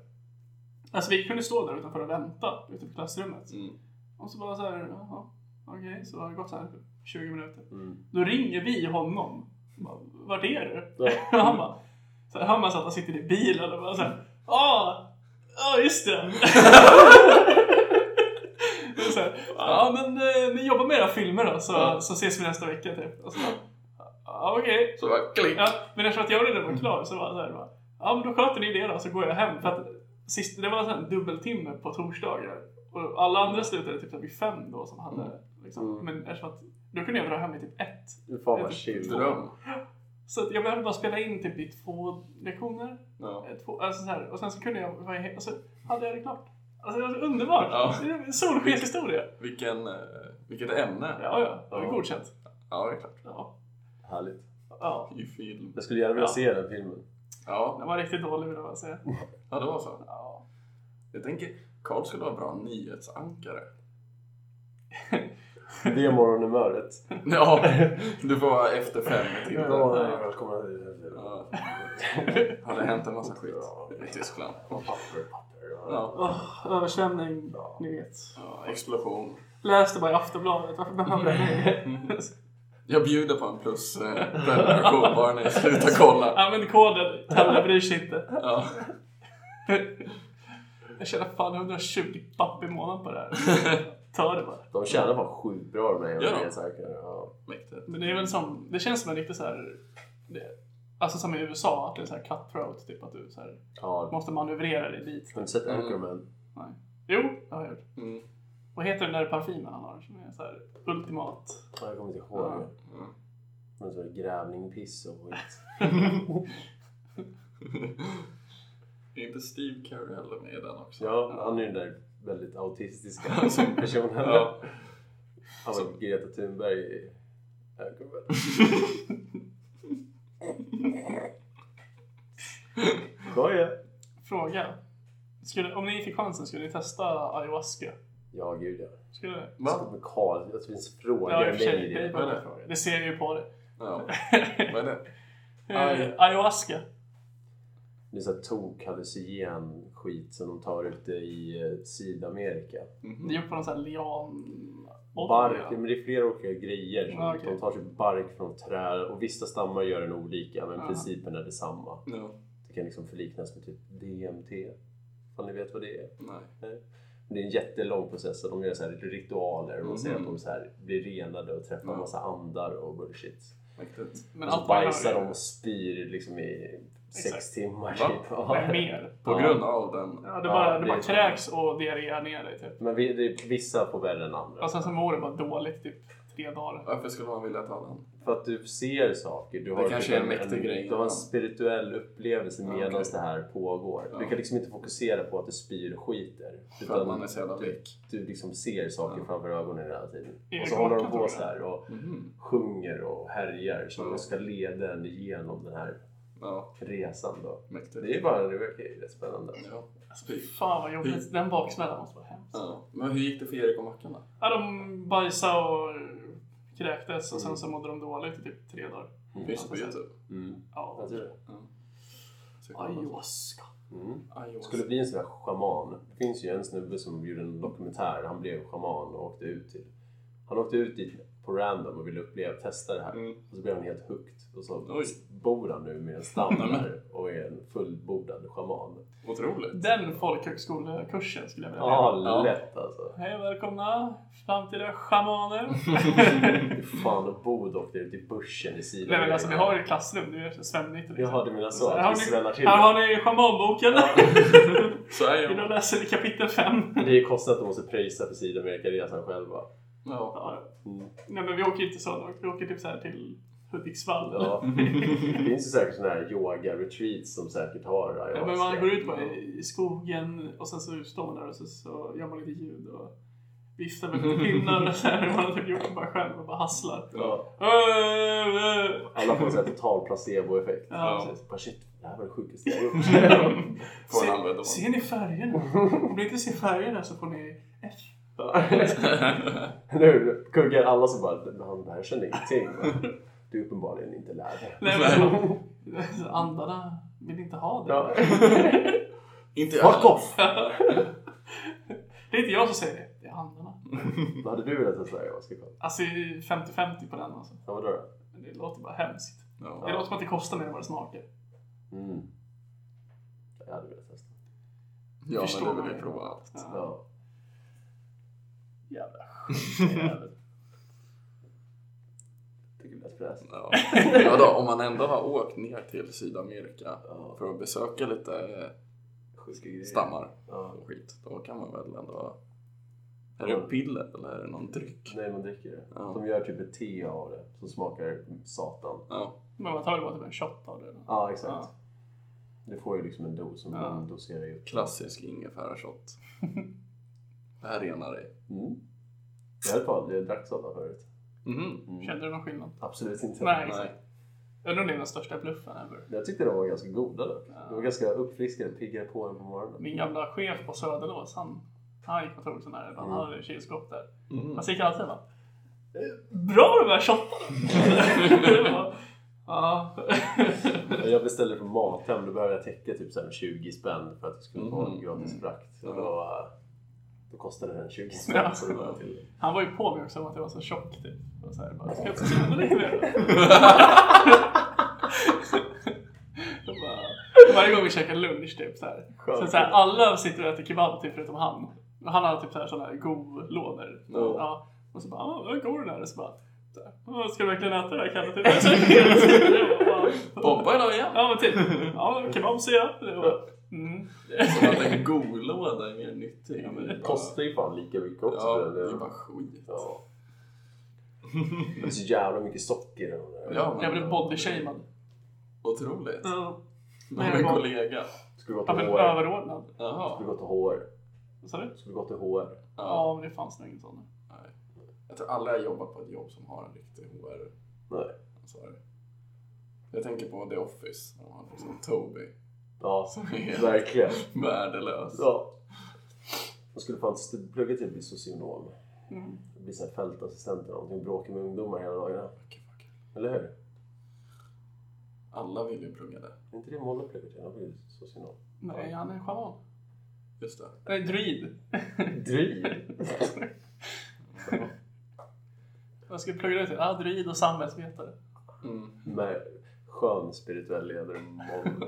Speaker 2: alltså vi kunde stå där utanför och vänta utanför klassrummet.
Speaker 3: Mm.
Speaker 2: Och så bara så här, jaha, okej, så har det gått så här 20 minuter.
Speaker 4: Mm.
Speaker 2: Då ringer vi honom. Bara, Vart är du?
Speaker 4: Ja.
Speaker 2: Och han bara, så här, hör man så att han sitter i bilen och bara så här, ja, ja just det. Och så här, Ja men eh, ni jobbar med era filmer då så,
Speaker 3: Ja.
Speaker 2: så ses vi nästa vecka typ. Och så bara, ja okej.
Speaker 3: Så bara klick.
Speaker 2: Ja, men eftersom att jag redan var klar så var jag så här, bara, ja men då sköter ni det då så går jag hem. För att sist, det var en sån här dubbeltimme på torsdagar. Och alla andra slutade typ vid fem då som hade liksom.
Speaker 4: Mm.
Speaker 2: Men eftersom att då kunde jag dra hem vid typ ett.
Speaker 4: Fan vad chill.
Speaker 3: Dröm.
Speaker 2: Så att jag behövde bara spela in typ i två lektioner.
Speaker 3: Ja.
Speaker 2: eh, Två, alltså så här, och sen så kunde jag vara he- och så hade jag det klart. Alltså det var så underbart!
Speaker 3: Ja.
Speaker 2: Det är en solskenshistoria!
Speaker 3: Vilken, eh, vilket ämne.
Speaker 2: Ja, ja. Det var
Speaker 4: Ja.
Speaker 2: godkänt.
Speaker 3: Ja, det är klart.
Speaker 2: Ja.
Speaker 4: Härligt.
Speaker 2: ja.
Speaker 3: I film.
Speaker 4: Jag skulle gärna vilja
Speaker 2: Ja.
Speaker 4: se den filmen.
Speaker 3: Ja,
Speaker 2: Den var riktigt dålig vill jag bara säga.
Speaker 3: ja det var så.
Speaker 2: Ja.
Speaker 3: Jag tänker, Karl skulle vara bra nyhetsankare.
Speaker 4: Det är morgonhumöret.
Speaker 3: Ja, du får vara efter fem till.
Speaker 4: Ja,
Speaker 3: Ja.
Speaker 4: välkomna
Speaker 3: Ja. Har det hänt en massa skit i Tyskland? Ja.
Speaker 2: Åh, översvämning,
Speaker 4: Ja.
Speaker 2: ni vet.
Speaker 3: Ja, explosion.
Speaker 2: Läste bara i Aftonbladet, varför behöver jag det?
Speaker 3: Jag bjuder på en plus eh, prenumeration bara ni slutar kolla.
Speaker 2: Använd koden, Telle bryr sig inte.
Speaker 3: Ja.
Speaker 2: Jag tjänar fan 120 papp i månaden på det här. Ta det bara.
Speaker 4: De tjänar fan sjukt bra med
Speaker 3: Ja.
Speaker 4: det. Ja.
Speaker 3: Mäktigt.
Speaker 2: Men det är väl som, det känns som en riktig så här, det, alltså som i USA, att det är så här cutthroat, typ att du så här,
Speaker 4: Ja.
Speaker 2: måste manövrera dig dit.
Speaker 4: Har du sett
Speaker 3: Mm.
Speaker 4: Anchorman?
Speaker 2: Nej. Jo, det har jag gjort.
Speaker 3: Mm.
Speaker 2: Vad heter den där parfymen han har som är så här ultimat?
Speaker 4: Ja, Jag kommer inte ihåg.
Speaker 2: Ja.
Speaker 3: Mm.
Speaker 4: Men så är det grävning, piss och skit.
Speaker 3: Är inte Steve Carell med i den också?
Speaker 4: Ja, han är ju den där väldigt autistiska som personen.
Speaker 3: Ja.
Speaker 4: Han var Greta Thunberg i Anchorman. Skoja!
Speaker 2: Fråga. Skulle, om ni fick chansen, skulle ni testa ayahuasca?
Speaker 4: Ja, gud ja.
Speaker 2: Skulle ni?
Speaker 4: Va?
Speaker 3: Va?
Speaker 4: Med Karl, jag tror ens frågar
Speaker 2: Ja, i och
Speaker 4: mig
Speaker 2: för sig.
Speaker 4: det.
Speaker 2: Det, är
Speaker 3: Vad
Speaker 2: bara
Speaker 3: är
Speaker 2: en
Speaker 3: det?
Speaker 2: fråga. det ser jag ju på det.
Speaker 3: ja. Vad är det? Aj.
Speaker 2: Eh, Ayahuasca.
Speaker 4: Det är så här tokhallucinogen skit som de tar ute i eh, Sydamerika.
Speaker 2: Det är gjort på någon sån här lian...
Speaker 4: Bark, men det är flera olika grejer. Som
Speaker 2: Ja, okej.
Speaker 4: De tar typ bark från träd och vissa stammar gör den olika men
Speaker 2: Ja.
Speaker 4: principen är detsamma.
Speaker 3: Ja.
Speaker 4: Det kan liksom förliknas med typ DMT. Om ni vet vad det är.
Speaker 3: Nej.
Speaker 4: Men det är en jättelång process och de gör så här ritualer och man ser att
Speaker 3: Mhm.
Speaker 4: de så här blir renade och träffar
Speaker 3: Ja.
Speaker 4: massa andar och bullshit.
Speaker 3: Mäktigt.
Speaker 2: Men
Speaker 4: och så
Speaker 2: allt man gör
Speaker 4: bajsar
Speaker 2: är-
Speaker 4: de och spyr liksom i sex
Speaker 2: Exakt.
Speaker 4: timmar.
Speaker 3: Va?
Speaker 4: Typ. Ja.
Speaker 2: Vad är mer?
Speaker 3: På
Speaker 4: Ja.
Speaker 3: grund av den.
Speaker 2: Ja, det bara,
Speaker 4: Ja,
Speaker 2: det
Speaker 4: det
Speaker 2: bara
Speaker 4: är-
Speaker 2: kräks och diarré ner dig typ.
Speaker 4: Men vi, det, vissa får värre än andra.
Speaker 2: Och sen så mår det bara dåligt typ tre dagar.
Speaker 3: Varför skulle man vilja ta den?
Speaker 4: För att du ser saker. Du har
Speaker 3: kanske
Speaker 4: typ
Speaker 3: är en mäktig grej,
Speaker 4: Du har
Speaker 3: ja.
Speaker 4: en spirituell upplevelse
Speaker 3: Ja,
Speaker 4: medan
Speaker 3: okej.
Speaker 4: det här pågår.
Speaker 3: Ja.
Speaker 4: Du kan liksom inte fokusera på att du spyr och skiter.
Speaker 3: För att man är så jävla
Speaker 4: du,
Speaker 3: väck.
Speaker 4: du liksom ser saker
Speaker 3: Ja.
Speaker 4: framför ögonen hela tiden.
Speaker 2: Är
Speaker 4: Och
Speaker 2: det
Speaker 4: så håller de
Speaker 2: klockan,
Speaker 4: på
Speaker 2: tror
Speaker 4: så
Speaker 2: du?
Speaker 4: här och
Speaker 3: Mhm.
Speaker 4: sjunger och härjar så
Speaker 3: Ja.
Speaker 4: de ska leda en igenom den här
Speaker 3: Ja,
Speaker 4: resan. Då. Det
Speaker 3: mäktigt.
Speaker 4: är ju bara, det verkar ju rätt spännande.
Speaker 3: Ja.
Speaker 2: Alltså, fy fan vad
Speaker 4: Mm.
Speaker 2: jobbigt. Den baksmällan måste vara hemsk.
Speaker 3: Ja. Men hur gick det för Erik och Mackan då?
Speaker 2: Ja, de bajsade och kräktes och sen så mådde de dåligt i typ tre dagar.
Speaker 3: Finns det på Youtube?
Speaker 4: Mm.
Speaker 2: Ja.
Speaker 4: Jag tror det.
Speaker 3: Sök på något.
Speaker 2: Ayahuasca.
Speaker 4: Mm.
Speaker 3: Ayahuasca.
Speaker 4: Skulle bli en sån där schaman. Det finns ju en snubbe som gjorde en dokumentär. Han blev schaman och åkte ut till... Han åkte ut dit på random och ville uppleva, testa det här.
Speaker 3: Mm.
Speaker 4: Och så blev han helt hooked. Och så
Speaker 3: Oj.
Speaker 4: bor han nu med en standard och är en fullbordad schaman.
Speaker 3: Otroligt.
Speaker 2: Den folkhögskolekursen skulle jag vilja ha.
Speaker 4: Ja,
Speaker 3: Ja.
Speaker 4: lätt alltså.
Speaker 2: Hej välkomna framtida schamaner.
Speaker 4: Fy Fan, och Bod åkte ut i bussen i sidan.
Speaker 2: Nej men alltså vi har ett klassrum, det är Sven-19
Speaker 4: Jag hörde mina så
Speaker 2: liksom. Här har
Speaker 4: att vi sväller
Speaker 2: ni,
Speaker 4: till.
Speaker 2: här har ni schamanboken.
Speaker 3: Så är
Speaker 2: Vill du
Speaker 3: jag.
Speaker 2: läsa i kapitel 5?
Speaker 4: Det är konstigt att de måste pröjsa för Sydamerikaresan själva.
Speaker 3: Ja.
Speaker 4: Mm.
Speaker 2: Nej men vi åker inte så långt, vi åker typ så här till Hudiksvall.
Speaker 4: Ja. Det finns ju säkert sådana här yoga-retreats som säkert har
Speaker 2: Ja,
Speaker 4: ayahuasca.
Speaker 2: men man går ut bara i i skogen och sen så står man där och så, så gör man lite ljud och viftar med lite pinnar och så här. Man har typ gjort det bara själv och bara hasslar.
Speaker 4: Ja.
Speaker 2: Äh, äh.
Speaker 4: Alla får en sån här total placeboeffekt.
Speaker 2: Ja.
Speaker 4: Precis. Bara shit, det här var det sjukaste jag gjort.
Speaker 3: Får
Speaker 2: Se-
Speaker 3: en använda
Speaker 2: Ser ni färgerna? Om ni inte ser färgerna så får ni F.
Speaker 3: honom.
Speaker 4: nu kuggar alla som bara, han det här kände ingenting. Du är uppenbarligen inte lärd.
Speaker 2: Nej, men, så andarna vill inte ha det.
Speaker 4: Ja.
Speaker 3: Inte
Speaker 4: Fuck
Speaker 3: jag.
Speaker 4: off!
Speaker 2: Det är inte jag som säger det, det är andarna.
Speaker 4: Vad hade du velat testa ayahuasca Carl?
Speaker 2: Alltså det är 50-50 på den alltså.
Speaker 4: Ja, vadå då?
Speaker 2: Men det låter bara hemskt.
Speaker 3: Ja.
Speaker 2: Det låter som att det kostar mer än vad det smakar.
Speaker 4: Mm. Jag hade velat testa.
Speaker 3: Ja,
Speaker 2: Förstår
Speaker 3: men du
Speaker 2: man
Speaker 3: vill
Speaker 2: ju.
Speaker 3: ju prova allt.
Speaker 2: Ja.
Speaker 4: Ja.
Speaker 2: Jävla
Speaker 4: jävel. Tycker det lät fräscht.
Speaker 3: Ja. ja då, om man ändå har åkt ner till Sydamerika
Speaker 4: Ja.
Speaker 3: för att besöka lite
Speaker 4: Sjuka grejer.
Speaker 3: stammar
Speaker 4: Ja.
Speaker 3: och skit, då kan man väl ändå... Är det piller eller är det någon dryck?
Speaker 4: Nej, man dricker det.
Speaker 3: Ja.
Speaker 4: De gör typ ett te av det som smakar satan.
Speaker 3: Ja.
Speaker 2: Men man tar väl bara typ en shot av det. eller?
Speaker 4: Ja, exakt.
Speaker 2: Ja.
Speaker 4: Du får ju liksom en dos som
Speaker 2: Ja.
Speaker 4: de doserar ju.
Speaker 3: Klassisk ingefärashot. Det här renar dig.
Speaker 4: Mm. Jag höll på att jag drack sådana förut.
Speaker 3: Mhm.
Speaker 2: Kände du någon skillnad?
Speaker 4: Absolut inte.
Speaker 2: Nej.
Speaker 3: Nej.
Speaker 2: Jag undrar om det är den största bluffen ever.
Speaker 4: Jag tyckte de var ganska goda dock.
Speaker 2: Ja.
Speaker 4: De var ganska uppfriskande, piggade på en på morgonen.
Speaker 2: Min gamla chef på Söderås, han, han gick och tog sån här. Han hade ett kylskåp där.
Speaker 3: Mm.
Speaker 2: Han gick alltid och bara "Eh, Bra de här shottarna! ja.
Speaker 4: Jag beställde från Mathem, då behövde jag täcka typ så här 20 spänn för att jag skulle få
Speaker 3: Mhm.
Speaker 4: gratis
Speaker 3: Mm.
Speaker 4: frakt. Och
Speaker 3: Ja.
Speaker 4: då, eh, då kostade den 20 spänn.
Speaker 2: Ja.
Speaker 4: Så det var till.
Speaker 2: Han var ju på mig också om att jag var så tjock typ. Och så här, bara, ska jag inte känna dig mer? Så bara- Varje gång vi käkar lunch typ så här. Så, så här, alla sitter och äter kebab typ förutom han. Och han har typ så här, sådana här go-lådor.
Speaker 4: Ja.
Speaker 2: Ja. Och så bara, "Ah, vad god den är. Och så bara, så här, "Ah, ska du verkligen äta det här Kalle? Typ. Så här, bara,
Speaker 3: Bomba idag igen!
Speaker 2: Ja men typ, ja kebab ser jag. Det var- Mm.
Speaker 3: Som att en golåda är mer nyttig. Ja, men det är bara-
Speaker 4: kostar ju fan lika mycket också.
Speaker 3: Ja,
Speaker 4: för
Speaker 3: det är bara skit.
Speaker 4: Ja. Det är så jävla mycket socker i de där.
Speaker 3: Ja,
Speaker 2: Jag blev bodyshamead.
Speaker 3: Otroligt.
Speaker 2: Nej,
Speaker 3: Med en
Speaker 2: bara-
Speaker 3: kollega.
Speaker 4: Skulle gått
Speaker 2: Jag
Speaker 4: till
Speaker 2: blev
Speaker 4: HR.
Speaker 2: överordnad.
Speaker 3: Jaha.
Speaker 4: Skulle gått till HR.
Speaker 2: Vad sa du?
Speaker 4: Skulle gått till HR.
Speaker 3: Ja.
Speaker 2: Ja men det fanns nog ingen sån.
Speaker 3: Jag tror alla har jobbat på ett jobb som har en riktig HR.
Speaker 4: Nej.
Speaker 3: Sorry. Jag tänker på The Office. De har liksom Toby.
Speaker 4: Ja,
Speaker 3: Som är
Speaker 4: verkligen.
Speaker 3: värdelös.
Speaker 4: Ja. Jag skulle fan st- plugga till att bli socionom.
Speaker 2: Mm.
Speaker 4: Bli så här fältassistent eller någonting. Bråka med ungdomar hela dagarna.
Speaker 3: Fuck, fuck.
Speaker 4: Eller hur?
Speaker 3: Alla vill ju plugga det.
Speaker 4: Är inte det Molle pluggar till? Han blir socionom.
Speaker 2: Nej, han är schaman.
Speaker 3: Just det.
Speaker 2: Nej, druid.
Speaker 4: Driv!
Speaker 2: Vad ska vi plugga det till? Ja, druid och samhällsvetare.
Speaker 3: Mm.
Speaker 4: Med skön spirituell ledare Molle.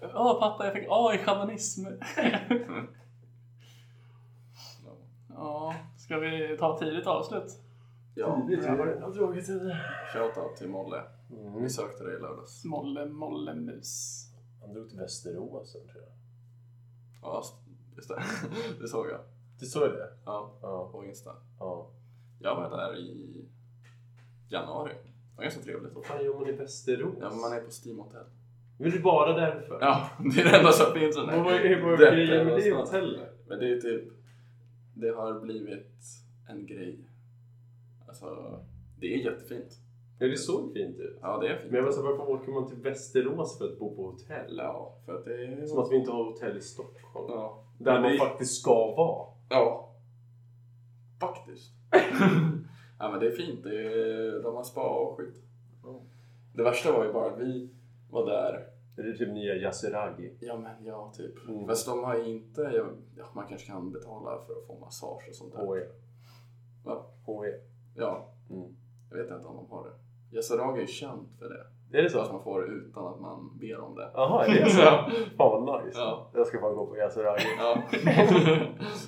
Speaker 2: Ja, pappa, jag fick A i shamanism.
Speaker 3: Ja.
Speaker 2: Ja, ska vi ta ett tidigt avslut?
Speaker 3: Ja,
Speaker 4: Det var redan dragit i det.
Speaker 3: shoutout till Molle.
Speaker 4: Mm.
Speaker 3: Vi sökte dig i lördags.
Speaker 2: Molle, molle, mus.
Speaker 4: Han drog till Västerås sen tror jag.
Speaker 3: Ja, just det. Det såg jag.
Speaker 4: Du såg det?
Speaker 3: Ja,
Speaker 4: Ja.
Speaker 3: på Insta.
Speaker 4: ja.
Speaker 3: Jag var där i januari. Det var ganska trevligt.
Speaker 4: Vad fan gör man i Västerås?
Speaker 3: Ja, men man är på Steam Hotel.
Speaker 4: Vill du bara därför?
Speaker 3: Ja, det är det enda som finns.
Speaker 4: Vad var hur var
Speaker 3: Detta
Speaker 4: grejen med det
Speaker 3: någonstans.
Speaker 4: hotellet?
Speaker 3: Men det är typ, det har blivit en grej. Alltså, det är jättefint.
Speaker 4: Ja, det såg fint ut.
Speaker 3: Ja, det är fint.
Speaker 4: Men jag var så här, varför åker man till Västerås för att bo på hotell?
Speaker 3: Ja, för att det är...
Speaker 4: Som att vi inte har hotell i Stockholm.
Speaker 3: Ja.
Speaker 4: Där
Speaker 3: Men
Speaker 4: man
Speaker 3: det-
Speaker 4: faktiskt ska vara.
Speaker 3: Ja. Faktiskt. ja, men det är fint. Det är, de har spa och skit. Det värsta var ju bara att vi var där.
Speaker 4: Det är typ nya Yasuragi.
Speaker 3: Ja men ja, typ.
Speaker 4: Mm.
Speaker 3: Fast de har ju inte... Ja, man kanske kan betala för att få massage och sånt där.
Speaker 4: HE.
Speaker 3: Va?
Speaker 4: HE.
Speaker 3: Ja,
Speaker 4: Oh, Mm.
Speaker 3: jag vet inte om de har det. Yasuragi är känt för det.
Speaker 4: Är det
Speaker 3: Så att
Speaker 4: så?
Speaker 3: man får det utan att man ber om det.
Speaker 4: Jaha, är det så?
Speaker 3: Ja.
Speaker 4: Fan vad nice.
Speaker 3: Ja.
Speaker 4: Jag ska fan gå på Yasuragi.
Speaker 3: Ja.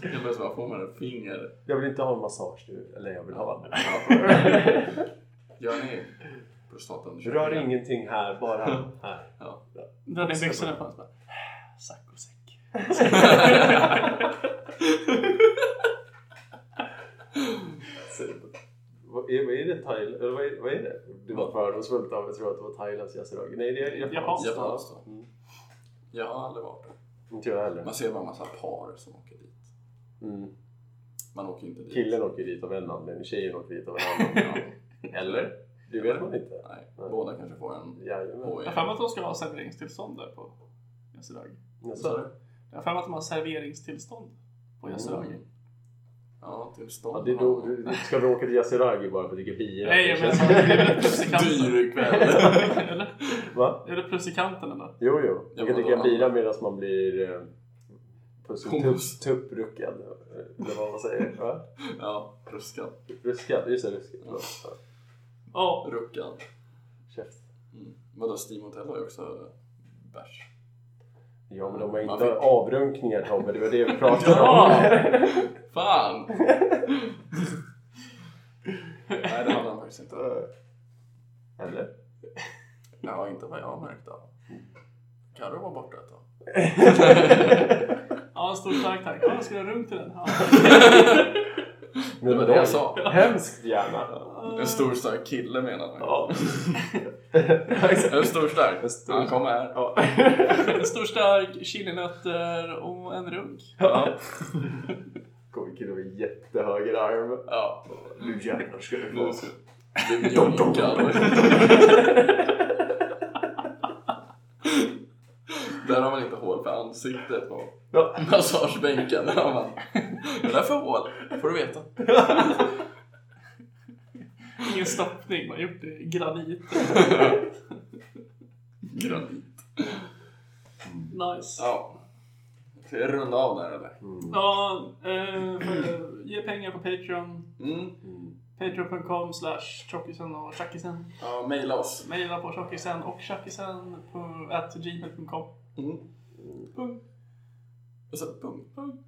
Speaker 3: jag började bara få med det finger.
Speaker 4: Jag vill inte ha en massage du. Eller jag vill ha en.
Speaker 3: Ja. Gör ni prostataundersökningar?
Speaker 4: Rör ingenting här, bara här.
Speaker 3: Ja.
Speaker 2: Drar ner byxorna på hans bara. Sack och säck.
Speaker 4: Vad är, vad är det? Thailand? Eller vad är, vad är det? Du var fördomsfullt av att tro att det var Thailands Yasuragi. Nej, det är japanskt.
Speaker 3: Japanskt, ja.
Speaker 4: Mm.
Speaker 3: Jag har aldrig varit där.
Speaker 4: Inte jag heller.
Speaker 3: Man ser bara en massa par som åker dit.
Speaker 4: Mm.
Speaker 3: Man åker inte dit.
Speaker 4: Killen åker dit av en anledning, tjejen åker dit av en
Speaker 3: Ja.
Speaker 4: annan. Eller? Det vet man inte.
Speaker 3: Nej.
Speaker 4: Nej.
Speaker 3: Båda kanske får en E.
Speaker 4: Jajamän.
Speaker 3: HE.
Speaker 2: Jag har för mig att de ska ha serveringstillstånd där på Yasuragi.
Speaker 3: Så är
Speaker 4: Nästa.
Speaker 3: det.
Speaker 2: Jag har för mig att de har serveringstillstånd på Yasuragi.
Speaker 3: Mm. Ja, till
Speaker 4: Ja,
Speaker 3: stånd.
Speaker 4: det är då, du- ska vi åka till Yasuragi bara för att dricka bira?
Speaker 2: Nej, jag
Speaker 4: Det
Speaker 2: menar
Speaker 4: känns-
Speaker 2: det är väl plus i kanten.
Speaker 3: Dyr kväll.
Speaker 2: Eller?
Speaker 4: Va?
Speaker 2: Är det plus i kanten eller?
Speaker 4: Jo, jo.
Speaker 3: Ja,
Speaker 4: Man kan
Speaker 3: vadå?
Speaker 4: dricka bira medan man blir eh, puss-
Speaker 3: Hummus.
Speaker 4: tupp- tuppruckad. eh, Eller vad man säger. Va?
Speaker 3: Ja, ruskan.
Speaker 4: Ruskad, just det. Ruskad. Förlåt. Ja.
Speaker 2: Ja.
Speaker 3: Ruckan.
Speaker 4: Käft.
Speaker 3: Mm. Vadå, Steam Hotel har ju också bärs.
Speaker 4: Ja, men de har
Speaker 3: Man
Speaker 4: inte
Speaker 3: fick-
Speaker 4: avrunkningar Tobbe, det var det vi pratade om.
Speaker 2: Ja!
Speaker 3: Fan! Nej, det hade han faktiskt inte.
Speaker 4: Eller?
Speaker 3: Ja, inte vad jag har märkt av. Carro var borta ett tag.
Speaker 2: Ja, stort tack tack. Ja, ska du ha rum till den? Ja.
Speaker 4: Men
Speaker 3: var det jag sa.
Speaker 4: Hemskt gärna.
Speaker 3: En stor stark kille menar man.
Speaker 4: Ja.
Speaker 3: En stor stark.
Speaker 4: En stor-
Speaker 3: Han kommer här.
Speaker 4: Ja.
Speaker 2: En stor stark, chilinötter och en runk.
Speaker 3: Ja.
Speaker 4: Kommer killen med jättehöger arm.
Speaker 3: ja.
Speaker 4: Nu jävlar ska du
Speaker 3: Nu
Speaker 4: få.
Speaker 3: ska du bli mjölkad. Där har man inte hål för ansiktet på
Speaker 4: Ja.
Speaker 3: massagebänken. Där har man. Det där för hål, får du veta.
Speaker 2: Ingen stoppning, man har gjort det i granit.
Speaker 3: Granit.
Speaker 2: Nice.
Speaker 3: Ja. Ska jag runda av där eller?
Speaker 2: Ja, eh, för- ge pengar på Patreon.
Speaker 3: Mm.
Speaker 2: Patreon.com slash tjockisen och tjackisen.
Speaker 3: Ja, mejla oss.
Speaker 2: Mejla på tjockisen och tjackisen på at gmail.com.
Speaker 3: Mm.
Speaker 2: Punkt.
Speaker 3: Och så punkt, punkt.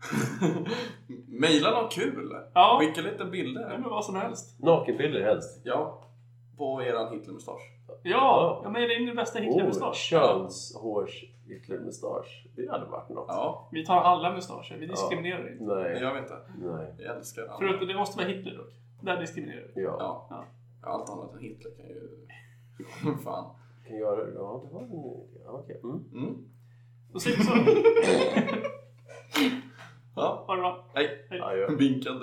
Speaker 3: Mejla något kul.
Speaker 2: Ja.
Speaker 3: Skicka lite
Speaker 2: Ja,
Speaker 3: bilder.
Speaker 2: men vad som helst.
Speaker 4: Nakenbilder helst.
Speaker 3: Ja. På eran Hitlermustasch.
Speaker 2: Ja, jag mejlar in min bästa
Speaker 4: Oh,
Speaker 2: Hitler-mustasch.
Speaker 4: Könshårs yttermustasch. Det hade varit något.
Speaker 3: Ja,
Speaker 2: Vi tar alla mustascher, vi diskriminerar inte.
Speaker 3: det
Speaker 4: Nej.
Speaker 3: gör vi inte.
Speaker 4: Nej.
Speaker 3: Jag älskar alla.
Speaker 2: Förutom det måste vara Hitler dock. Där diskriminerar vi.
Speaker 4: Ja.
Speaker 3: Ja.
Speaker 2: Ja.
Speaker 3: Ja, Allt annat än Hitler kan ju... Fan.
Speaker 4: Kan göra det. Ja, det var en ja, Okej. Mm.
Speaker 3: Mm.
Speaker 2: Då säger vi så.
Speaker 3: Ja,
Speaker 2: Ha det bra.
Speaker 3: hej.
Speaker 4: Ja, gör det.
Speaker 3: Vinkade.